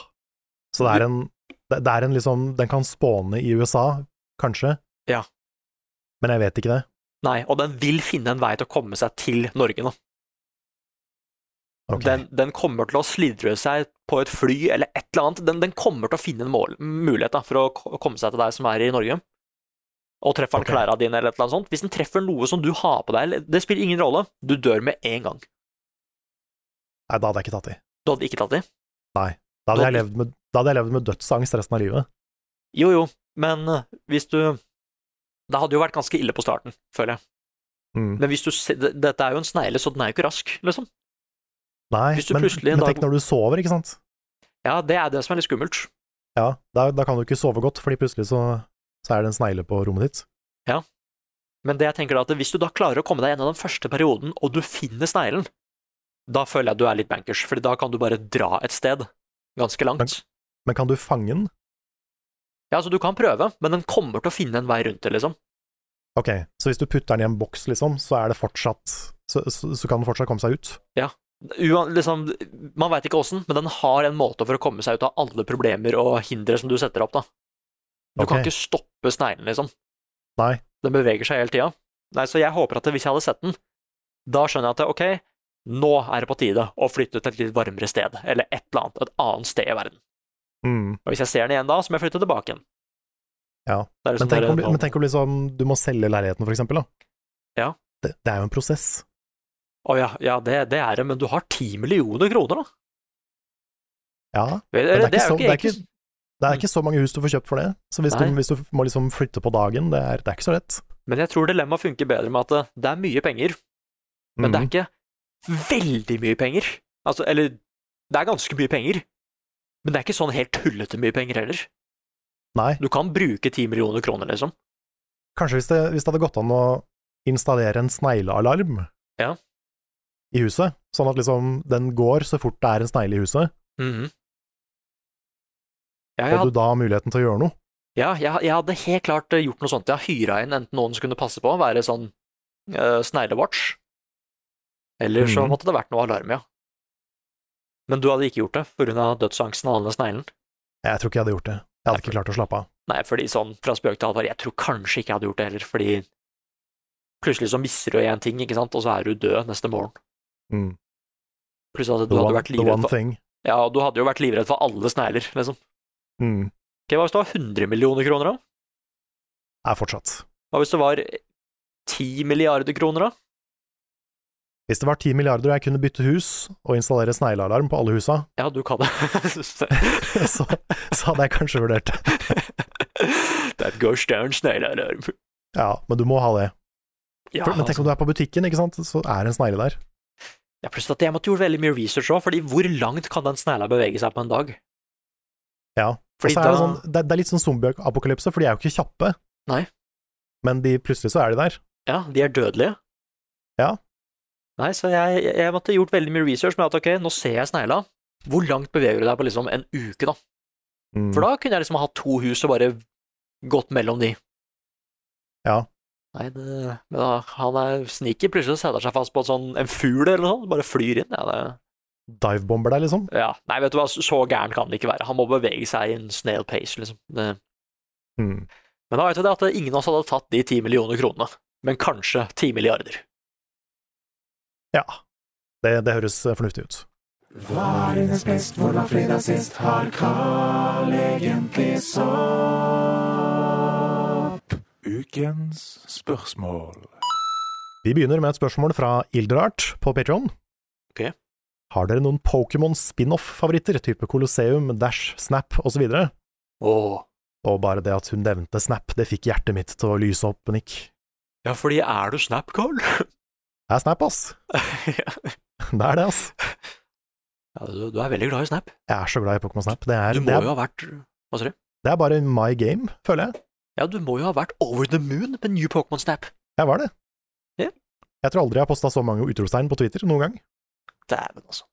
A: Så det er en, det det er en liksom, den kan spåne i USA, kanskje.
B: Ja.
A: Men jeg vet ikke det.
B: Nei, og den vil finne en vei til å komme seg til Norge nå.
A: Ok.
B: Den, den kommer til å slidre seg på et fly eller et eller annet. Den, den kommer til å finne en mål, mulighet da, for å ko- komme seg til deg som er i Norge. Og treffer den
A: Ok.
B: klærne dine eller et eller annet sånt. Hvis den treffer noe som du har på deg, eller- det spiller ingen rolle, du dør med en gang.
A: Nei, da hadde jeg ikke tatt i.
B: Du hadde ikke tatt det?
A: Da hadde jeg
B: Da-
A: levd med, da hadde jeg levd med dødsangst resten av livet.
B: Jo jo, men eh, hvis du Det hadde jo vært ganske ille på starten, føler jeg.
A: Mm.
B: Men hvis du se- d- Dette er jo en snegle, så den er jo ikke rask, liksom.
A: Nei,
B: Hvis du
A: men,
B: plutselig en
A: men
B: dag-
A: tenk når du sover, ikke sant?
B: Ja, det er det som er litt skummelt.
A: Ja, da, da kan du ikke sove godt, fordi plutselig så, så er det en snegle på rommet ditt.
B: Men det jeg tenker da, at hvis du da klarer å komme deg gjennom den første perioden, og du finner sneglen, da føler jeg du er litt bankers, for da kan du bare dra et sted ganske langt.
A: Men kan du fange den?
B: Ja, altså du kan prøve, men den kommer til å finne en vei rundt det, liksom.
A: Ok, så hvis du putter den i en boks, liksom, så er det fortsatt Så, så, så kan den fortsatt komme seg ut?
B: Uan, liksom man veit ikke åssen, men den har en måte for å komme seg ut av alle problemer og hindre som du setter opp, da. Du kan
A: Ok.
B: ikke stoppe sneglen, liksom.
A: Nei.
B: Den beveger seg hele tida. Nei, så jeg håper at hvis jeg hadde sett den, da skjønner jeg at ok, nå er det på tide å flytte til et litt varmere sted, eller et eller annet, et annet sted i verden.
A: Mm.
B: Og hvis jeg ser den igjen da, så må jeg flytte tilbake igjen.
A: Ja,
B: Det er liksom
A: Men tenk, om,
B: dere-
A: men tenk om liksom, du må selge leiligheten, for eksempel. Da.
B: Ja.
A: Det, det er jo en prosess.
B: sånn, Å ja, ja det, det er det, men du har ti millioner kroner, da.
A: Ja,
B: Eller,
A: men det er,
B: det
A: ikke så,
B: jo
A: det, er ikke, det er ikke så mange hus du får kjøpt for det. Så hvis, du,
B: Nei.
A: hvis du må liksom flytte på dagen, det er, det er ikke så lett.
B: Men jeg tror dilemmaet funker bedre med at eh, det- det er mye penger, men
A: Mhm. Mm.
B: det er ikke veldig mye penger. Altså, eller det er ganske mye penger, men det er ikke sånn helt tullete mye penger heller.
A: Nei,
B: Du kan bruke ti millioner kroner, liksom.
A: kanskje hvis det, hvis det hadde gått an å installere en sneglealarm
B: Ja.
A: i huset, sånn at liksom den går så fort det er en snegle i huset,
B: Mhm. Ja,
A: og
B: ja,
A: du da har muligheten til å gjøre noe.
B: Ja, jeg, jeg hadde helt klart eh, gjort noe sånt. Jeg hyra inn enten noen som kunne passe på, være sånn uh, sneglewatch, eller så
A: Mhm.
B: måtte det vært noe alarm, ja. Men du hadde ikke gjort det pga. dødsangsten av denne sneglen?
A: Jeg tror ikke jeg hadde gjort det. Jeg hadde ikke klart å slappe av.
B: Nei, fordi sånn fra spøk til alvor, jeg tror kanskje ikke jeg hadde gjort det heller, fordi plutselig så mister du en ting, ikke sant, og så er du død neste morgen.
A: Mm.
B: Pluss at du
A: The,
B: hadde
A: one,
B: vært
A: the
B: livredd
A: one
B: for,
A: thing.
B: ja, du hadde jo vært livredd for alle snegler, liksom.
A: Mm.
B: Ok, Hva hvis det var 100 millioner kroner, da?
A: Er fortsatt.
B: Hva hvis det var 10 milliarder kroner, da?
A: Hvis det var ti milliarder og jeg kunne bytte hus og installere sneglealarm på alle husa,
B: Ja, du kan det.
A: så, så hadde jeg kanskje vurdert det.
B: That goes down, sneglealarm.
A: Ja, men du må ha det.
B: Ja, altså,
A: For, men tenk om du er på butikken, ikke sant, så er det en snegle der.
B: ja, pluss at jeg måtte gjort veldig mye research òg, fordi hvor langt kan den snegla bevege seg på en dag?
A: Ja. Og
B: Fordi
A: så er det,
B: da-
A: sånn, det, det er litt sånn zombieapokalypse, for de er jo ikke kjappe.
B: Nei.
A: Men de, plutselig så er de der.
B: Ja, de er dødelige.
A: Ja.
B: Nei, så jeg, jeg måtte gjort veldig mye research med at ok, nå ser jeg snegla. Hvor langt beveger du deg på liksom en uke, da?
A: Mm.
B: For da kunne jeg liksom ha hatt to hus og bare gått mellom de.
A: Ja.
B: Nei, det, men da, han er sneaky, plutselig setter seg fast på en sånn, en fugl eller noe sånt, bare flyr inn. Ja, det,
A: Divebomber deg, liksom.
B: Ja, nei, vet du hva, så gæren kan det ikke være. Han må bevege seg i en snail pace, liksom. Det.
A: Mm.
B: Men da vet vi det at ingen av oss hadde tatt de ti millioner kronene, men kanskje ti milliarder.
A: Ja, det, det høres eh, fornuftig ut.
G: Hva er hennes best, hvor var fredag sist? Har Carl egentlig sopp?
E: Ukens spørsmål.
A: Vi begynner med et spørsmål fra Ilderart på Patreon.
B: Ok.
A: Har dere noen Pokémon spin-off-favoritter, type Colosseum, Dash, Snap osv.? Og,
B: Åh.
A: og bare det at hun nevnte Snap, det fikk hjertet mitt til å lyse opp, Nick.
B: Ja, fordi er du Snap, Carl?
A: Det er Snap, ass.
B: ja,
A: Det er det, ass.
B: du, du er veldig glad i Snap.
A: Jeg er så glad i Pokémon Snap. Det er,
B: Du
A: det,
B: må
A: er,
B: jo ha vært Hva sa du?
A: det er bare my game, føler jeg.
B: Ja, du må jo ha vært over the moon med New Pokémon Snap.
A: Jeg var det.
B: Ja.
A: Jeg tror aldri jeg har posta så mange utropstegn på Twitter noen gang.
B: Dæven, altså.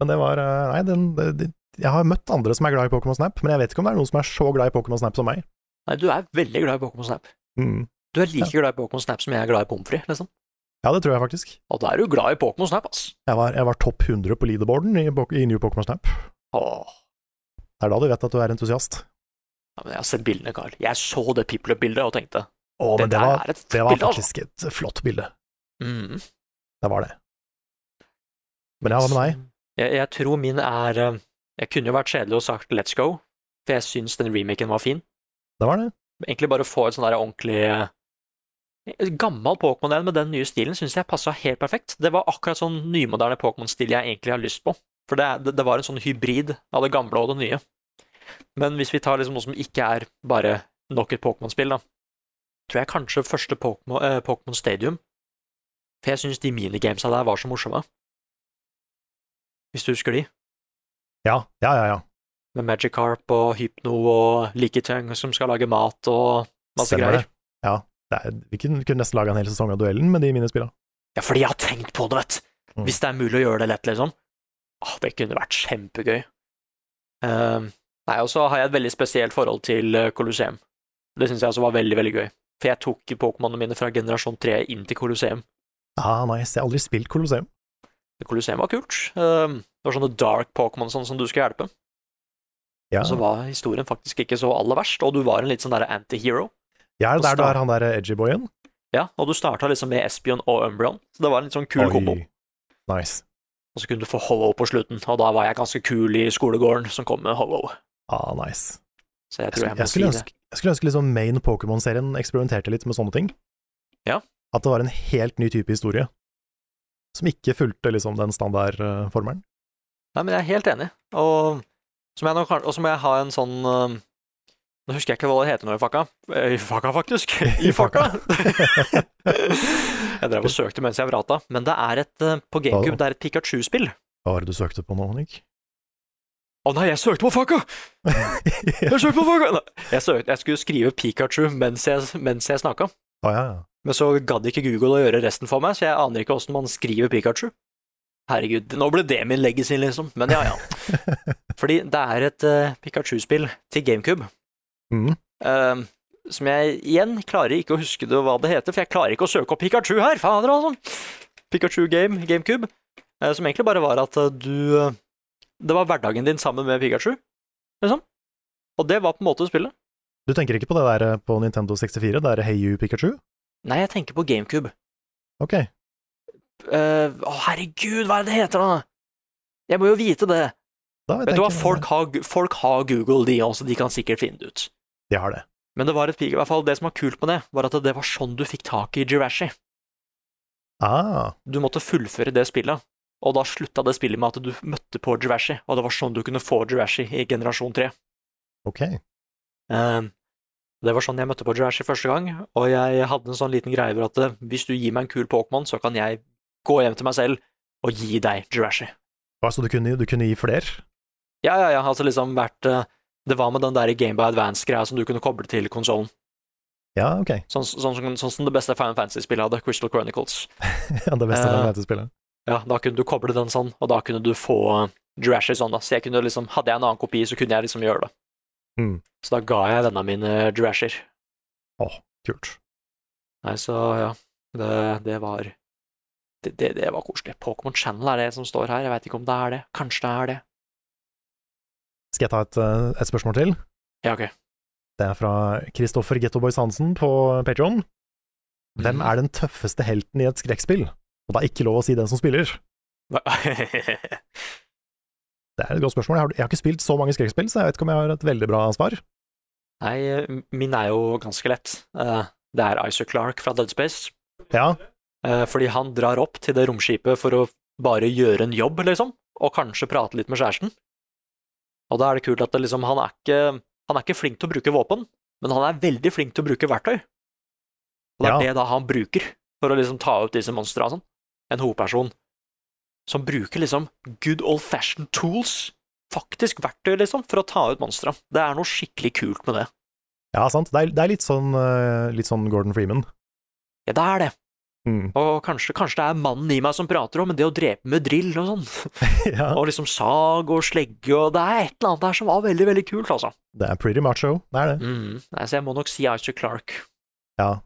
A: Men det var eh, Nei, den, det- det- jeg har møtt andre som er glad i Pokémon Snap, men jeg vet ikke om det er noen som er så glad i Pokémon Snap som meg.
B: Nei, du er veldig glad i Pokémon Snap.
A: Mm.
B: Du er like glad i Pokémon Snap som jeg er glad i pommes frites, liksom.
A: Ja, det tror jeg faktisk.
B: Og da er du glad i Pokémon Snap, ass.
A: Jeg var, jeg var topp 100 på leaderboarden i, Pok- i New Pokémon Snap.
B: Åh.
A: Det er da du vet at du er entusiast.
B: Ja, men jeg har sett bildene, Carl. Jeg så det Piplup-bildet og tenkte
A: Å,
B: Det
A: men det,
B: der
A: var,
B: er et
A: det var
B: bilde, altså.
A: faktisk et flott bilde.
B: mm.
A: Det var det. Men ja, hva med deg?
B: jeg, jeg tror min er eh, Jeg kunne jo vært kjedelig og sagt let's go, for jeg syns den remaken var fin.
A: Det var det.
B: Egentlig bare få et sånn der ordentlig eh, et Gammel Pokémon med den nye stilen syns jeg passa helt perfekt. Det var akkurat sånn nymoderne Pokémon-stil jeg egentlig har lyst på. For det, det, det var en sånn hybrid av det gamle og det nye. Men hvis vi tar liksom noe som ikke er bare nok et Pokémon-spill, da, tror jeg kanskje første Pokémon eh, Pokémon Stadium. For jeg syns de minigamesa der var så morsomme. Hvis du husker de?
A: Ja, ja, ja. ja.
B: med Magikarp og Hypno og Lickitung som skal lage mat og masse
A: Stemmer
B: greier.
A: det. Ja, det er, vi kunne, kunne nesten laga en hel sesong av duellen med de minispillene.
B: Ja, fordi jeg har tenkt på det, vet
A: Mm.
B: Hvis det er mulig å gjøre det lett, liksom. Åh, det kunne vært kjempegøy. Ehm, nei, og så har jeg et veldig spesielt forhold til eh, Colosseum. Det syns jeg også var veldig, veldig gøy. For jeg tok Pokémonene mine fra generasjon 3 inn til Colosseum.
A: Ah, nice. Jeg har aldri spilt Colosseum.
B: Colosseum var kult. Ehm, det var sånne dark Pokémon sånn som du skulle hjelpe.
A: Ja,
B: Og så var historien faktisk ikke så aller verst, og du var en litt sånn derre anti-hero.
A: ja er det
B: på
A: der du
B: start.
A: er han der eh, edgy-boyen?
B: Ja, og du starta liksom med Espion og Umbreon, så det var en litt sånn kul kombo.
A: Nice.
B: Og så kunne du få Hollow på slutten, og da var jeg ganske kul i skolegården som kom med Hollow.
A: Ah, nice.
B: Så jeg
A: Jeg,
B: tror jeg
A: skulle-
B: må
A: jeg, skulle
B: si det.
A: ønske, jeg skulle ønske liksom main Pokémon-serien eksperimenterte litt med sånne ting.
B: Ja.
A: At det var en helt ny type historie, som ikke fulgte liksom den standardformelen.
B: Nei, men jeg er helt enig, og så må jeg, nå kan- og så må jeg ha en sånn øhm, Nå husker jeg ikke hva det heter nå i fakka. Eh, I fakka, faktisk. I
A: I fakka.
B: fakka! jeg drev og søkte mens jeg vrata, men det er et eh, på GameCube, det er et Pikachu-spill.
A: Hva var det du søkte på nå, Nick?
B: Å nei, jeg søkte på fakka!
A: Å
B: Jeg søkte på fakka! Nei, Jeg, søkte, jeg skulle skrive Pikachu mens jeg, mens jeg snakka.
A: ja, ja.
B: Men så gadd ikke Google å gjøre resten for meg, så jeg aner ikke åssen man skriver Pikachu. Herregud, nå ble det min legacy, liksom. Men ja, ja. Fordi det er et eh, Pikachu-spill til GameCube
A: Mm.
B: eh, som jeg igjen klarer ikke å huske det, hva det heter, for jeg klarer ikke å søke opp Pikachu her, fader, altså! Pikachu Game, GameCube, eh, som egentlig bare var at eh, du eh, Det var hverdagen din sammen med Pikachu, liksom. Og det var på en måte spillet.
A: Du tenker ikke på det der eh, på Nintendo 64, det der Hey You Pikachu?
B: Nei, jeg tenker på GameCube.
A: Ok.
B: Eh, Å, herregud, hva er det det heter, da? Jeg må jo vite det.
A: Da vet,
B: Vet
A: jeg
B: du hva,
A: ikke det
B: folk
A: er.
B: har, folk har Google, de også, de kan sikkert finne det ut.
A: De har det.
B: Men det var et pik, i hvert fall det som var kult med det, var at det var sånn du fikk tak i Jirashi.
A: Ah,
B: Du måtte fullføre det spillet, og da slutta det spillet med at du møtte på Jirashi, og det var sånn du kunne få Jirashi i generasjon 3.
A: ok.
B: Eh, det var sånn jeg møtte på Jirashi første gang, og jeg hadde en sånn liten greie over at eh, hvis du gir meg en kul Pokémon, så kan jeg gå hjem til meg selv og gi deg Jirashi.
A: Altså, du kunne, du kunne gi fler?
B: Ja, ja, ja, altså liksom vært eh, Det var med den der Game by Advance-greia som du kunne koble til konsollen.
A: Ja, ok.
B: Sånn, sånn, sånn, sånn som det beste Final Fantasy-spillet hadde, Crystal Chronicles.
A: Ja, det beste
B: Eh.
A: med dette spillet.
B: Ja, da kunne du koble den sånn, og da kunne du få eh, Jurassic sånn, da. Så jeg kunne liksom, hadde jeg en annen kopi, så kunne jeg liksom gjøre det.
A: Mm.
B: Så da ga jeg vennene mine eh, Jurassic.
A: Kult.
B: Nei, så ja, det, det var det, det, det var koselig. Pokémon Channel er det som står her, jeg veit ikke om det er det. Kanskje det er det.
A: Skal jeg ta et, eh, et spørsmål til?
B: Ja, ok.
A: Det er fra Kristoffer Gettoboys Hansen på Patreon. Hvem er den tøffeste helten i et skrekkspill? Og det er ikke lov å si den som spiller. Det er et godt spørsmål. Jeg har, jeg har ikke spilt så mange skrekkspill, så jeg vet ikke om jeg har et veldig bra svar.
B: Nei, min er jo ganske lett. Eh, Det er Isaac Clark fra Dead Space.
A: Ja,
B: Eh, Fordi han drar opp til det romskipet for å bare gjøre en jobb, liksom, og kanskje prate litt med kjæresten. Og da er det kult at det, liksom, han, er ikke, han er ikke flink til å bruke våpen, men han er veldig flink til å bruke verktøy. Og det er
A: Ja.
B: det da han bruker for å liksom ta ut disse monstrene og sånn. En hovedperson som bruker liksom good old fashioned tools, faktisk verktøy, liksom, for å ta ut monstrene. Det er noe skikkelig kult med det.
A: ja sant. Det er, det er litt, sånn, eh, litt sånn Gordon Freeman.
B: Ja, det er det.
A: Mm.
B: Og kanskje, kanskje det er mannen i meg som prater om det å drepe med drill og sånn.
A: ja.
B: Og liksom sag og slegge og Det er et eller annet der som var veldig, veldig kult, altså.
A: Det er pretty macho, det er det.
B: Mm. Nei, så jeg må nok si Isaac Clark.
A: Ja.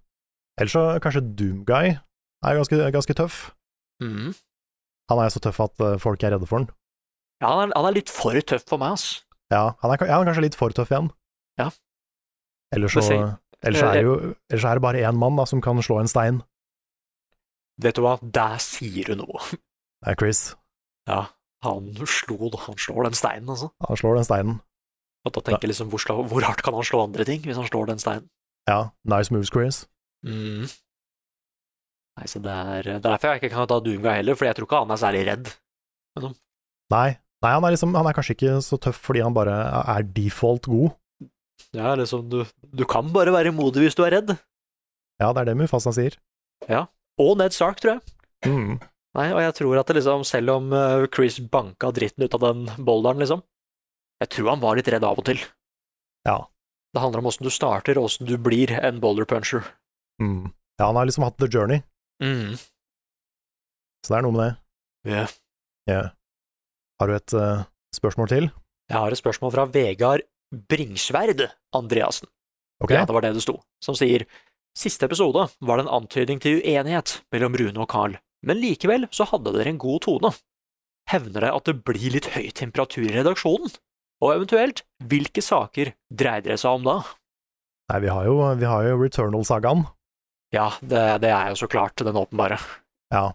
A: Ellers så kanskje Doomguy er ganske, ganske tøff.
B: Mm.
A: Han er så tøff at eh, folk er redde for han.
B: Ja, han er, han er litt for tøff for meg, ass.
A: Ja, han er, ka- ja, han er kanskje litt for tøff igjen.
B: Ja.
A: Ellers så,
B: Men se-
A: ellers så er det jo ellers så er det bare én mann da, som kan slå en stein.
B: Vet du hva, der sier du noe.
A: Det er Chris.
B: Ja, han slo Han slår den steinen, altså.
A: Han slår den steinen.
B: Og da tenker jeg liksom, hvor, sla- hvor hardt kan han slå andre ting hvis han slår den steinen?
A: Ja, nice moves, Chris.
B: Mm. Nei, så det er det er derfor jeg ikke kan ta Doomguy heller, for jeg tror ikke han er særlig redd.
A: Nei, Nei han, er liksom, han er kanskje ikke så tøff fordi han bare er default god.
B: Ja, liksom, du, du kan bare være modig hvis du er redd.
A: Ja, det er det Mufasa sier.
B: Og Ned Stark, tror jeg.
A: Mm.
B: Nei, og jeg tror at det liksom, selv om eh, Chris banka dritten ut av den boulderen, liksom Jeg tror han var litt redd av og til.
A: Ja.
B: Det handler om åssen du starter, og åssen du blir en boulder puncher.
A: Mm. ja, han har liksom hatt the journey,
B: Mm.
A: så det er noe med det.
B: Ja.
A: Ja. Har du et eh, spørsmål til?
B: Jeg har et spørsmål fra Vegard Bringsverd Andreassen.
A: Ok,
B: Ja, det var det det sto. Som sier Siste episode var det en antydning til uenighet mellom Rune og Carl, men likevel så hadde dere en god tone. Hevner det at det blir litt høy temperatur i redaksjonen? Og eventuelt, hvilke saker dreier det seg om da?
A: Nei, vi har jo, vi har jo Returnal-sagaen.
B: Ja, det, det er jo så klart den åpenbare.
A: Ja.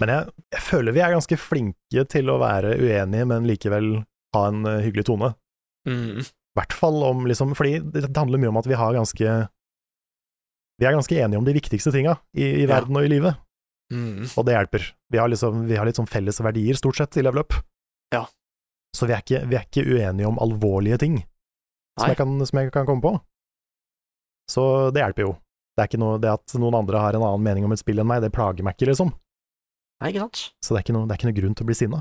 A: Men jeg, jeg føler vi er ganske flinke til å være uenige, men likevel ha en eh, hyggelig tone.
B: Mm.
A: I hvert fall om liksom Fordi det det handler mye om at vi har ganske Vi er ganske enige om de viktigste tinga i, i
B: Ja.
A: verden og i livet,
B: Mm.
A: og det hjelper. Vi har, liksom, vi har litt sånn felles verdier, stort sett, i level up.
B: Ja.
A: Så vi er, ikke, vi er ikke uenige om alvorlige ting som
B: Nei.
A: jeg, kan, som jeg kan komme på. Så det hjelper jo. Det er ikke noe, det at noen andre har en annen mening om et spill enn meg, det plager meg ikke, liksom.
B: Nei, ikke sant?
A: Så det er ikke noe, det er ikke noe grunn til å bli sinna.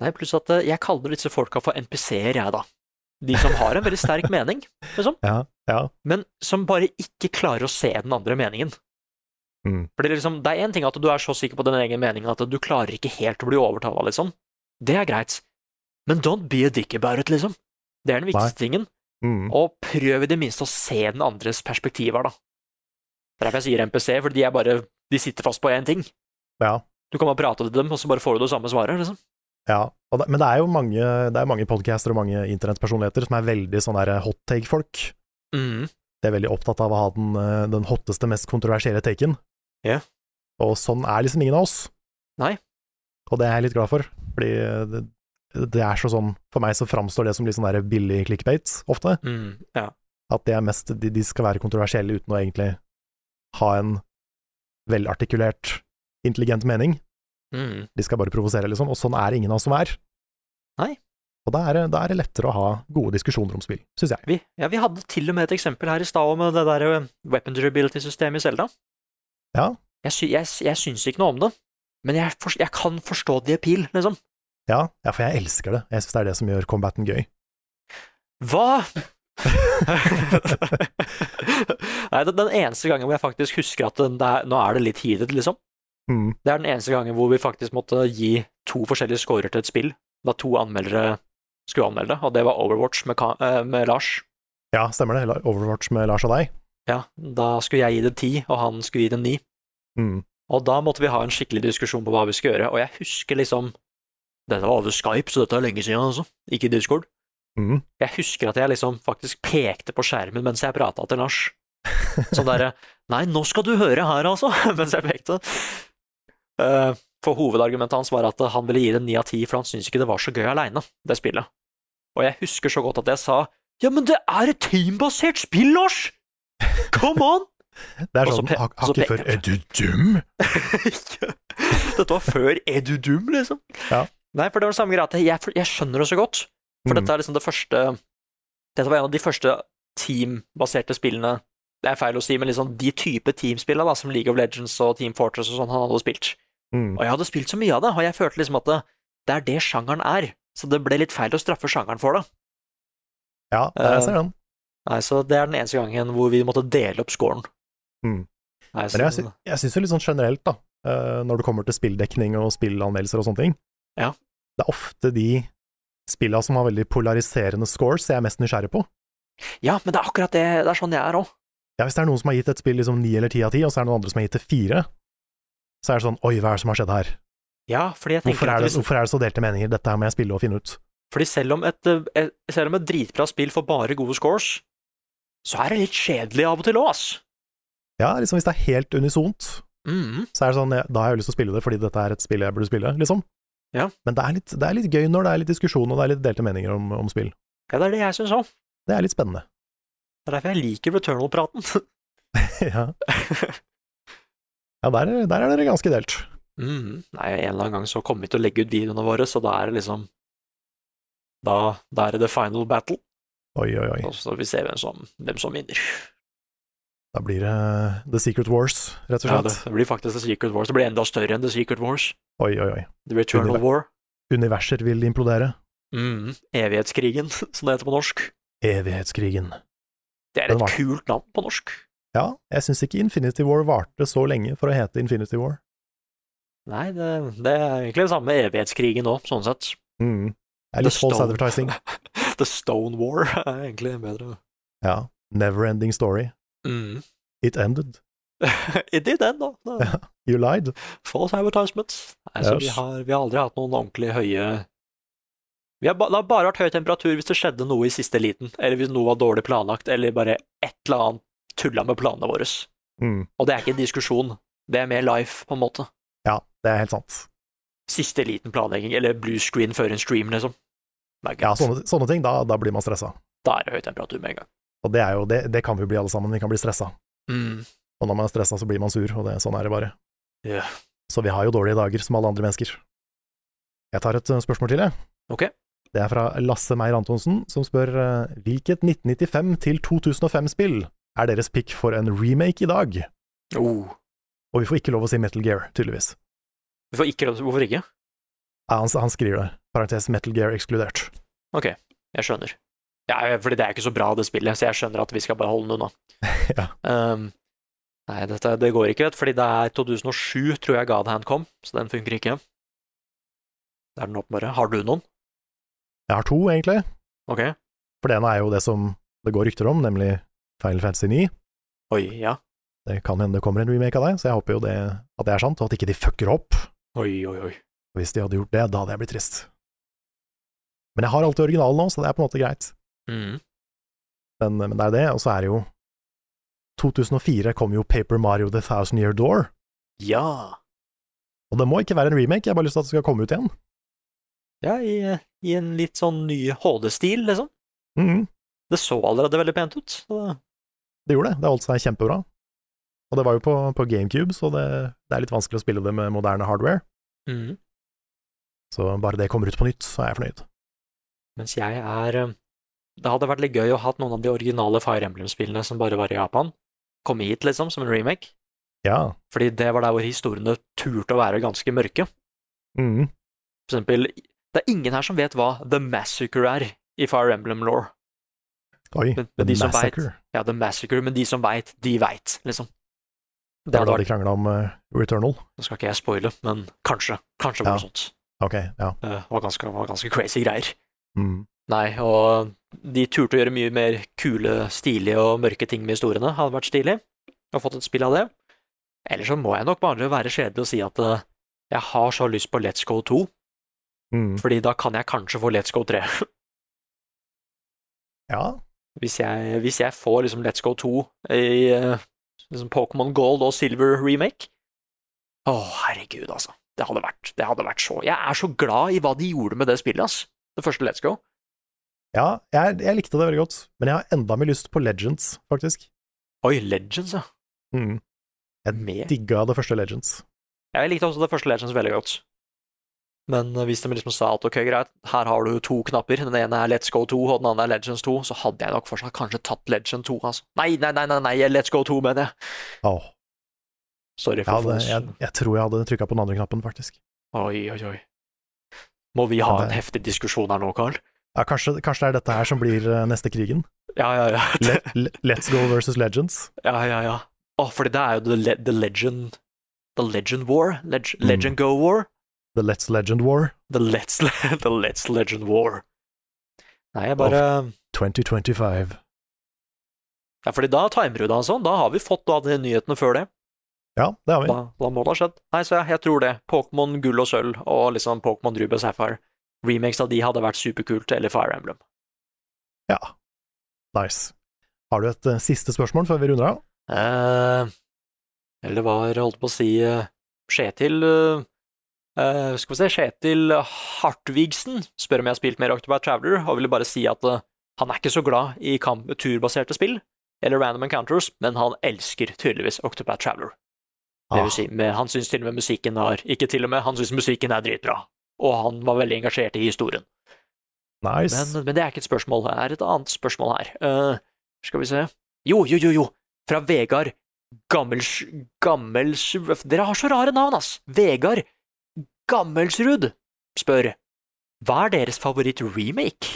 B: Nei, pluss at eh, jeg kaller disse folka for NPC-er, jeg, da. De som har en veldig sterk mening, liksom,
A: Ja, ja.
B: men som bare ikke klarer å se den andre meningen.
A: Mm.
B: For det er liksom, det er én ting at du er så sikker på din egen mening at du klarer ikke helt å bli overtala, liksom. Det er greit. Men don't be a dick about it, liksom. Det er den viktigste tingen.
A: Mm.
B: Og prøv i det minste å se den andres perspektiver, da. Det er derfor jeg sier NPC, for de er bare De sitter fast på én ting.
A: ja,
B: Du kan bare prate til dem, og så bare får du det samme svaret, liksom.
A: ja. Og det, men det er jo mange, det er mange podcaster og mange internettpersonligheter som er veldig sånn der hot take-folk.
B: Mm.
A: De er veldig opptatt av å ha den, eh, den hotteste, mest kontroversielle taken.
B: Ja.
A: Og sånn er liksom ingen av oss.
B: Nei.
A: Og det er jeg litt glad for, fordi det, det er så sånn For meg så framstår det som litt sånn der billig clickbait ofte.
B: Mm. Ja.
A: At de, er mest, de, de skal være kontroversielle uten å egentlig ha en velartikulert, intelligent mening.
B: Mm.
A: De skal bare provosere, liksom. Og sånn er ingen av oss som er.
B: Nei.
A: Og da er, det- da er det lettere å ha gode diskusjoner om spill, syns jeg.
B: Vi, ja, vi hadde til og med et eksempel her i stad om det der eh, weapon durability-systemet i Selda.
A: Ja.
B: Jeg, sy jeg, jeg syns ikke noe om det, men jeg, for jeg kan forstå the appeal, liksom.
A: Ja, ja for jeg elsker det. Jeg syns det er det som gjør combaten gøy.
B: Hva?! Nei, det er den eneste gangen hvor jeg faktisk husker at den der, nå er det litt heated, liksom.
A: Mm.
B: Det er den eneste gangen hvor vi faktisk måtte gi to forskjellige scorer til et spill, da to anmeldere skulle anmelde det, og det var Overwatch med, Ka eh, med Lars.
A: Ja, stemmer det. La- Overwatch med Lars og deg.
B: Ja, da skulle jeg gi det ti, og han skulle gi det ni.
A: Mm.
B: Og da måtte vi ha en skikkelig diskusjon på hva vi skulle gjøre, og jeg husker liksom Dette var over Skype, så dette er lenge siden, altså. Ikke Discord.
A: Mm.
B: Jeg husker at jeg liksom faktisk pekte på skjermen mens jeg prata til Lars. Sånn derre Nei, nå skal du høre her, altså! Mens jeg pekte. Eh, For hovedargumentet hans var at han ville gi det ni av ti, for han syntes ikke det var så gøy aleine, det spillet. Og jeg husker så godt at jeg sa ja, men det er et teambasert spill, Lars! Come on!
A: Det er
B: Og så
A: sånn
B: pe-
A: hak-
B: og så
A: hakket
B: peker
A: før
B: jeg.
A: Er du dum?
B: Ikke- Dette var før Er du dum, liksom?
A: Ja.
B: Nei, for det var det samme greia at jeg, jeg skjønner det så godt. For
A: Mm.
B: dette er liksom det første Dette var en av de første teambaserte spillene Det er feil å si, men liksom de type teamspillene da, som League of Legends og Team Fortress og sånn han hadde spilt.
A: Mm.
B: Og jeg hadde spilt så mye av det, og jeg følte liksom at det, det er det sjangeren er. Så det ble litt feil å straffe sjangeren for det.
A: Ja,
B: Eh,
A: jeg ser den.
B: Nei, Så det er den eneste gangen hvor vi måtte dele opp scoren.
A: Mm.
B: Nei, så,
A: Men jeg, sy- jeg syns jo litt sånn generelt, da, eh, når det kommer til spilldekning og spillanmeldelser og sånne ting,
B: Ja.
A: det er ofte de spilla som har veldig polariserende scores jeg er mest nysgjerrig på.
B: Ja, men det er akkurat det. Det er sånn jeg er òg.
A: Ja, Hvis det er noen som har gitt et spill liksom ni eller ti av ti, og så er det noen andre som har gitt det fire, så er det sånn oi, hva er det som har skjedd her?
B: Ja, fordi jeg tenker
A: Hvorfor
B: at
A: er det,
B: hvis-
A: hvorfor er det så delte meninger? Dette her må jeg spille og finne ut.
B: Fordi selv om et, eh, et, selv om et dritbra spill får bare gode scores, så er det litt kjedelig av og til òg, ass.
A: Ja, liksom hvis det er helt unisont,
B: Mhm.
A: så er det sånn, ja, da har jeg lyst til å spille det fordi dette er et spill jeg burde spille, liksom.
B: Ja.
A: Men det er, litt, det er litt gøy når det er litt diskusjon og det er litt delte meninger om, om spill.
B: Ja, det er det jeg syns òg.
A: Det er litt spennende.
B: Det er derfor jeg liker Returnal-praten.
A: ja, ja der, der er dere ganske delt.
B: Mhm. Nei, en eller annen gang så kommer vi til å legge ut videoene våre, så da er det liksom Da, da er det the final battle,
A: Oi, oi, oi.
B: og så får vi se hvem som, hvem som vinner.
A: Da blir det eh, The Secret Wars, rett og
B: Ja,
A: slett.
B: det, det blir faktisk The Secret Wars. Det blir enda større enn The Secret Wars.
A: Oi, oi, oi.
B: The Returnal
A: Underbar.
B: War.
A: Universer vil implodere.
B: Mhm. Evighetskrigen, som det heter på norsk.
A: Evighetskrigen.
B: Det er
A: Den
B: et
A: var-
B: kult navn på norsk.
A: Ja, jeg syns ikke Infinity War varte så lenge for å hete Infinity War.
B: Nei, det, det er egentlig det samme med evighetskrigen òg, sånn sett.
A: Mm. Det
B: The
A: er litt false
B: Stone-
A: advertising.
B: The Stone War er egentlig bedre.
A: Ja. Never ending story.
B: Mm.
A: It ended.
B: It did end, da. Det-
A: You lied.
B: False advertisements. Nei, så
A: Yes.
B: vi, har, vi har aldri hatt noen ordentlig høye vi har, ba, Det har bare vært høy temperatur hvis det skjedde noe i siste liten, eller hvis noe var dårlig planlagt, eller bare et eller annet tulla med planene våre.
A: Mm.
B: Og det er ikke en diskusjon, det er mer life, på en måte.
A: Ja, det er helt sant.
B: Siste liten planlegging, eller blue screen før en stream, liksom. Det er
A: Ja, sånn.
B: greit.
A: sånne, sånne ting, da, da blir man stressa.
B: Da er det høy temperatur med en gang.
A: Og det, er jo, det, det kan vi jo bli alle sammen, vi kan bli stressa.
B: Mm.
A: Og når man er stressa, så blir man sur, og det, sånn er det bare.
B: Ja.
A: Så vi har jo dårlige dager, som alle andre mennesker. Jeg tar et eh, spørsmål til, jeg.
B: Ok.
A: Det er fra Lasse Meyer Antonsen, som spør eh, hvilket 1995 til 2005-spill er deres pick for en remake i dag?
B: Oh.
A: Og vi får ikke lov å si Metal Gear, tydeligvis.
B: Vi får ikke lov til Hvorfor ikke?
A: Ja, han, han skriver det. Parentes Metal Gear ekskludert.
B: Jeg skjønner. Ja, fordi det er ikke så bra, det spillet, så jeg skjønner at vi skal bare holde det unna.
A: Ja.
B: Ehm, nei, dette, det går ikke, vet du, fordi det er 2007, tror jeg Godhand kom, så den funker ikke. Det er den åpenbare. Har du noen?
A: Jeg har to, egentlig.
B: Ok.
A: For det ene er jo det som det går rykter om, nemlig Final Fantasy 9.
B: Oi, ja.
A: Det kan hende det kommer en remake av deg, så jeg håper jo det, at det er sant, og at ikke de fucker opp.
B: Oi, oi, oi.
A: Hvis de hadde gjort det, da hadde jeg blitt trist. Men jeg har alltid originalen nå, så det er på en måte greit.
B: Mhm.
A: Men, men det er det, og så er det jo 2004 kom jo Paper Mario The Thousand Year Door,
B: Ja.
A: og det må ikke være en remake, jeg har bare lyst til at det skal komme ut igjen.
B: Ja, i, i en litt sånn ny HD-stil, liksom.
A: Mhm,
B: Det så allerede veldig pent ut. Så det,
A: det gjorde det, det holdt seg kjempebra. Og det var jo på, på GameCube, så det, det er litt vanskelig å spille det med moderne hardware,
B: Mhm.
A: så bare det kommer ut på nytt, så er jeg fornøyd.
B: Mens jeg er eh, Det hadde vært litt gøy å ha hatt noen av de originale Fire Emblem-spillene som bare var i Japan, komme hit, liksom, som en remake.
A: Ja.
B: Fordi det var der hvor historiene turte å være ganske mørke.
A: mhm.
B: For eksempel, det er ingen her som vet hva The Massacre er i Fire Emblem Law.
A: Oi,
B: Men-
A: The
B: men de som vet-
A: Massacre.
B: Ja, The Massacre, men de som veit, de veit, liksom. Det
A: Det var
B: hadde
A: da de
B: vært,
A: krangla om eh, Returnal.
B: nå skal ikke jeg spoile, men kanskje. Kanskje var det
A: Ja.
B: sånt.
A: Ok, ja.
B: Eh, Det var ganske, var ganske crazy greier.
A: Mm.
B: Nei, og de turte å gjøre mye mer kule, stilige og mørke ting med historiene. Hadde vært stilig. Og fått et spill av det. Eller så må jeg nok bare være kjedelig og si at eh, jeg har så lyst på Let's Go 2,
A: Mm.
B: fordi da kan jeg kanskje få Let's Go 3.
A: Ja,
B: Hvis jeg, hvis jeg får liksom Let's Go 2 i eh, liksom Pokémon Gold og Silver remake, Å, herregud, altså. Det hadde, vært, det hadde vært så Jeg er så glad i hva de gjorde med det spillet, ass. Det første Let's Go.
A: Ja, jeg, jeg likte det veldig godt, men jeg har enda mer lyst på Legends, faktisk.
B: Oi, Legends, ja.
A: Mm.
B: Med.
A: Digga det første Legends.
B: Ja, Jeg likte også det første Legends veldig godt. Men eh, hvis de liksom sa at ok, greit, her har du to knapper, den ene er Let's Go 2, og den andre er Legends 2, så hadde jeg nok fortsatt kanskje tatt Legend 2, altså. Nei, nei, nei, nei, nei Let's Go 2, mener jeg.
A: Åh,
B: Sorry
A: jeg,
B: for
A: hadde,
B: fos.
A: jeg, jeg tror jeg hadde trykka på den andre knappen, faktisk.
B: Oi, oi, oi. Må vi ha
A: Ja, det-
B: en heftig diskusjon her nå, Karl?
A: Ja, kanskje, kanskje det er dette her som blir eh, neste krigen?
B: Ja, ja, ja.
A: Le, le, let's go versus Legends.
B: Ja, ja, ja. Å, fordi det er jo The, le the Legend The Legend War? Leg
A: Mm.
B: Legend Go War?
A: The Let's Legend War
B: The Let's, Le- the Let's Legend War. Nei, jeg bare
A: 2025.
B: Ja, fordi da timer du det, altså. Da har vi fått da de nyhetene før det.
A: Ja, det har vi.
B: Da, da må det ha skjedd. Nei, så jeg, jeg tror det. Pokémon gull og sølv og liksom Pokémon Ruby og Sapphire. Remakes av de hadde vært superkult, eller Fire Emblem.
A: Ja. Nice. Har du et eh, siste spørsmål før vi runder av?
B: Eh, eller var, holdt på å si, eh, Kjetil eh, eh, Skal vi se, Kjetil Hartvigsen spør om jeg har spilt mer Octopath Traveler, og ville bare si at eh, han er ikke så glad i kamp turbaserte spill, eller Random Encounters, men han elsker tydeligvis Octopath Traveler. Det vil si, med, han syns til og med musikken er Ikke til og med, han syns musikken er dritbra. Og han var veldig engasjert i historien.
A: Ah, nice.
B: Men, eh, men det er ikke et spørsmål. Det er et annet spørsmål her. Eh, skal vi se Jo, jo, jo, jo! Fra Vegard Gammels... Gammels... Dere har så rare navn, ass! Vegard Gammelsrud spør Hva er deres favoritt-remake?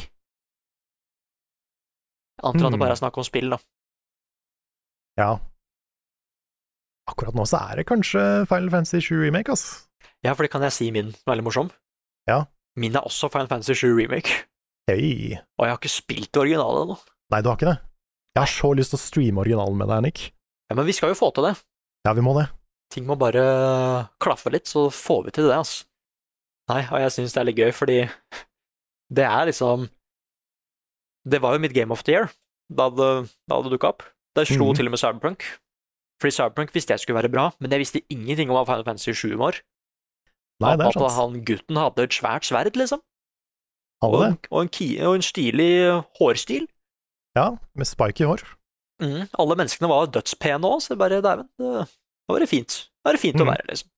B: Jeg antar at det
A: Hmm.
B: bare er snakk om spill, da.
A: Ja. Akkurat nå så er det kanskje Final Fantasy 7 Remake, ass.
B: Ja, for det kan jeg si min. Veldig morsom.
A: Ja.
B: Min er også Final Fantasy 7 Remake.
A: Hei.
B: Og jeg har ikke spilt det originale ennå.
A: Nei, du har ikke det? Jeg har så lyst til å streame originalen med deg, Nick.
B: Ja, men vi skal jo få til det.
A: Ja, vi må det.
B: Ting må bare klaffe litt, så får vi til det, altså. Nei, og jeg syns det er litt gøy, fordi det er liksom Det var jo mitt game of the year da det, da det dukka opp. Det slo
A: Mhm.
B: til og med Cyberpunk. Fordi Cyberpunk visste jeg skulle være bra, men jeg visste ingenting om hva Final Fantasy 7 var.
A: Nei, det
B: at
A: er sant.
B: han gutten hadde et svært sverd, liksom.
A: Alle
B: Og
A: det.
B: en, og en, ki, og en stilig hårstil.
A: Ja, med spike i hår.
B: Mm, alle menneskene var dødspene òg, så det bare dæven, det det var det fint. Det var det fint å
A: Mm.
B: være, liksom.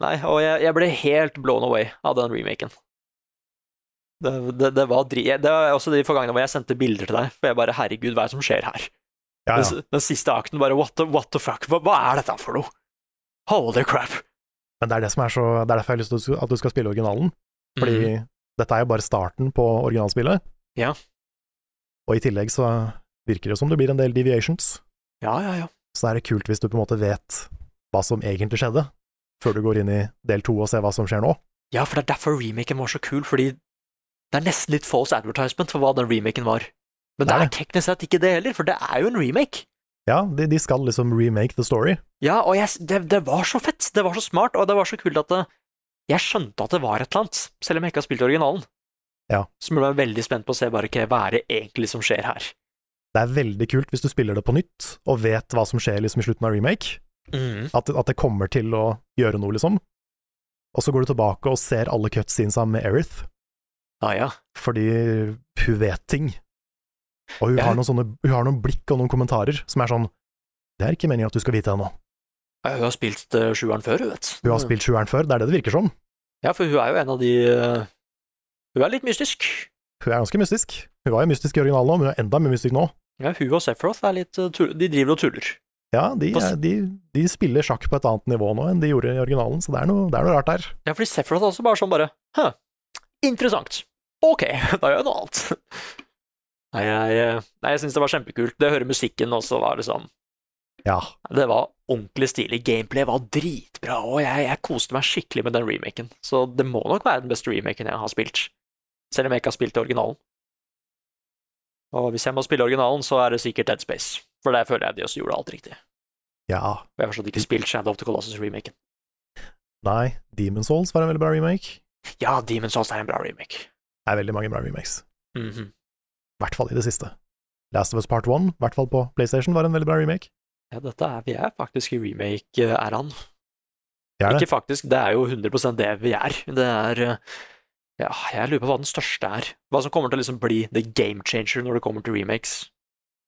B: Nei, og jeg, jeg ble helt blown away av den remaken. Det, det, det var dri... Det var også de få gangene hvor jeg sendte bilder til deg, for jeg bare herregud, hva er det som skjer her?
A: Ja, ja.
B: Den, s- den siste akten bare what the, what the fuck, hva, hva er dette for noe? Holy crap.
A: Men det er det som er så Det er derfor jeg har lyst til at du skal spille originalen. Fordi
B: Mhm.
A: dette er jo bare starten på originalspillet.
B: Ja.
A: Og i tillegg så virker det som det blir en del deviations.
B: Ja, ja, ja.
A: Så da er det kult hvis du på en måte vet hva som egentlig skjedde, før du går inn i del to og ser hva som skjer nå.
B: Ja, for det er derfor remaken var så kul, fordi det er nesten litt false advertisement for hva den remaken var. Men det
A: Nei.
B: er teknisk sett ikke det heller, for det er jo en remake.
A: Ja, de, de skal liksom remake the story.
B: Ja, og jeg, det, det var så fett, det var så smart, og det var så kult at det, jeg skjønte at det var et eller annet, selv om jeg ikke har spilt originalen.
A: Ja.
B: Så ble jeg veldig spent på å se bare hva hva er det egentlig som skjer her.
A: Det er veldig kult hvis du spiller det på nytt og vet hva som skjer liksom i slutten av remake, at, at det kommer til å gjøre noe, liksom. Og så går du tilbake og ser alle cutscenesa med Erith,
B: Ja, ja.
A: fordi hun vet ting. Og hun,
B: Ja.
A: har noen sånne, hun har noen blikk og noen kommentarer som er sånn Det er ikke meningen at du skal vite det nå.
B: Ja, Hun har spilt eh, sjueren før, hun vet.
A: Hun har spilt sjueren før, det er det det virker som.
B: Ja, for hun er jo en av de eh, Hun er litt mystisk.
A: Hun er ganske mystisk. Hun var jo mystisk i originalen òg, men hun er enda mer mystisk nå.
B: Ja, hun og Sephiroth er litt eh, tull- De driver og tuller.
A: Ja, de,
B: På s-
A: er- de, de spiller sjakk på et annet nivå nå enn de gjorde i originalen, så det er noe, det er noe rart der.
B: Ja, fordi Sephiroth er også bare sånn bare Hæ, interessant. Ok, da gjør jeg noe annet. Nei, jeg, eh, nei, jeg syns det var kjempekult. Det å høre musikken også var liksom
A: Ja.
B: Det var ordentlig stilig. Gameplay var dritbra, og jeg, jeg koste meg skikkelig med den remaken. Så det må nok være den beste remaken jeg har spilt, selv om jeg ikke har spilt originalen. Og hvis jeg må spille originalen, så er det sikkert Dead Space, for der føler jeg de også gjorde alt riktig.
A: ja.
B: Og jeg har fortsatt ikke spilt Shadow of the Colossus-remaken.
A: Nei, Demon's Souls var en veldig bra remake.
B: Ja, Demon's Souls er en bra remake.
A: Det er veldig mange bra remakes.
B: Mhm.
A: I hvert fall i det siste. Last of Us Part 1, i hvert fall på PlayStation, var en veldig bra remake.
B: Ja, dette er vi er faktisk i remake-æraen.
A: Jeg er det.
B: Ikke faktisk, det er jo 100 det vi er. Det er eh, Ja, jeg lurer på hva den største er. Hva som kommer til å liksom bli the game changer når det kommer til remakes.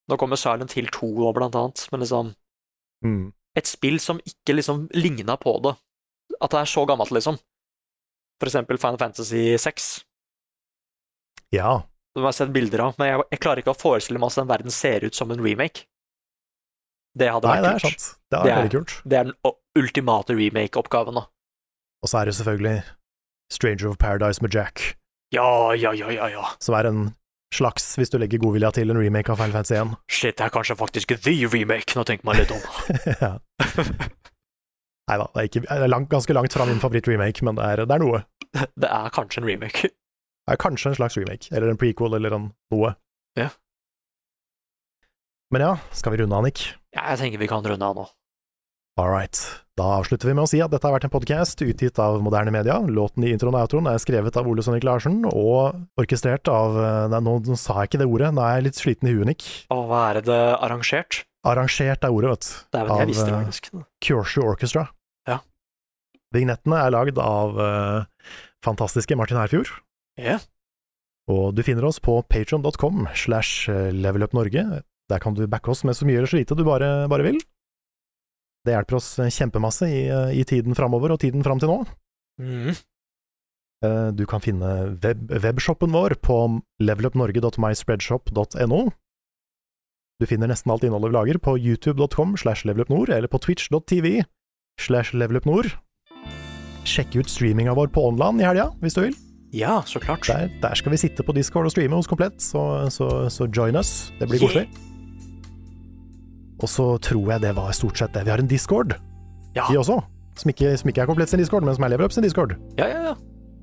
B: Nå kommer Silent Hill 2 òg, blant annet, men liksom
A: Mm.
B: Et spill som ikke liksom ligna på det. At det er så gammelt, liksom. For eksempel Final Fantasy 6,
A: Ja.
B: som jeg har sett bilder av, men jeg, jeg klarer ikke å forestille meg at den verden ser ut som en remake. Det hadde
A: Nei, det
B: vært
A: er
B: kult.
A: sant. Det er,
B: Det er-
A: veldig kult.
B: Det er den o- ultimate remake-oppgaven, da.
A: Og så er det selvfølgelig Stranger of Paradise med Jack,
B: Ja, ja, ja, ja, ja.
A: som er en slags, hvis du legger godvilja til, en remake av Final Fantasy 1.
B: Shit, det er kanskje faktisk the remake, nå tenker man litt om.
A: ja. Nei da, det er, ikke, det er langt, ganske langt fra min favoritt-remake, men det er, det er noe.
B: Det er kanskje en remake.
A: Det er kanskje en slags remake, eller en prequel, eller en noe.
B: Ja.
A: Men ja, skal vi runde av, Nick?
B: Ja, jeg tenker vi kan runde av nå.
A: All right. Da avslutter vi med å si at dette har vært en podkast utgitt av moderne media. Låten i introen og outroen er skrevet av Ole Sønnik Larsen og orkestrert av eh, Nei, nå nå sa jeg ikke det ordet, nå er jeg litt sliten i huet, Nick.
B: Og hva er det arrangert?
A: Arrangert er ordet, vet du.
B: Det er vel det jeg visste,
A: eh,
B: faktisk.
A: Kyosho Orchestra.
B: Ja.
A: Vignettene er lagd av eh, fantastiske Martin Herfjord.
B: Ja.
A: Og du finner oss på patreon.com slash eh, levelupnorge. Der kan du backe oss med så mye eller så lite du bare, bare vil. Det hjelper oss kjempemasse i, eh, i tiden framover og tiden fram til nå.
B: Mm.
A: Eh, Du kan finne web webshoppen vår på levelupnorge.myspreadshop.no. Du finner nesten alt innholdet vi lager på youtube.com slash levelupnord eller på twitch.tv slash levelupnord. Sjekk ut streaminga vår på online i helga, hvis du vil.
B: Ja, så klart.
A: Der, der skal vi sitte på Discord og streame hos Komplett, så, så, så join us. Det blir
B: Yeah.
A: koselig. Og så tror jeg det var stort sett det. Vi har en Discord,
B: Ja.
A: vi også. Som ikke, som ikke er Komplett sin Discord, men som er Levelup sin Discord
B: Ja, ja, ja.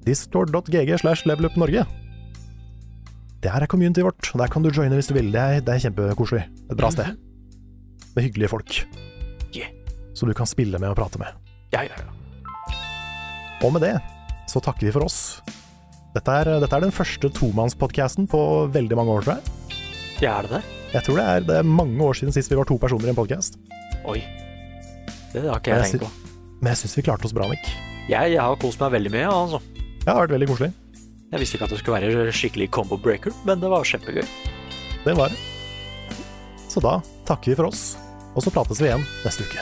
A: discord.gg slash levelupnorge. Det her er communityet vårt, og der kan du joine hvis du vil. Det er, det er kjempekoselig. Et bra sted. Med hyggelige folk.
B: Yeah.
A: Som du kan spille med og prate med.
B: Ja, ja, ja.
A: Og med det så takker vi for oss. Dette er, dette er den første tomannspodkasten på veldig mange år, tror jeg.
B: Ja, er det det?
A: Jeg tror det er, det er mange år siden sist vi var to personer i en podkast.
B: Oi. Det har ikke jeg
A: Jeg
B: tenkt på.
A: Men jeg syns vi klarte oss bra, Nick.
B: Jeg, jeg har kost meg veldig mye, altså.
A: Det har vært veldig koselig.
B: Jeg visste ikke at det skulle være skikkelig combo breaker, men det var kjempegøy.
A: Det var det. Så da takker vi for oss, og så prates vi igjen neste uke.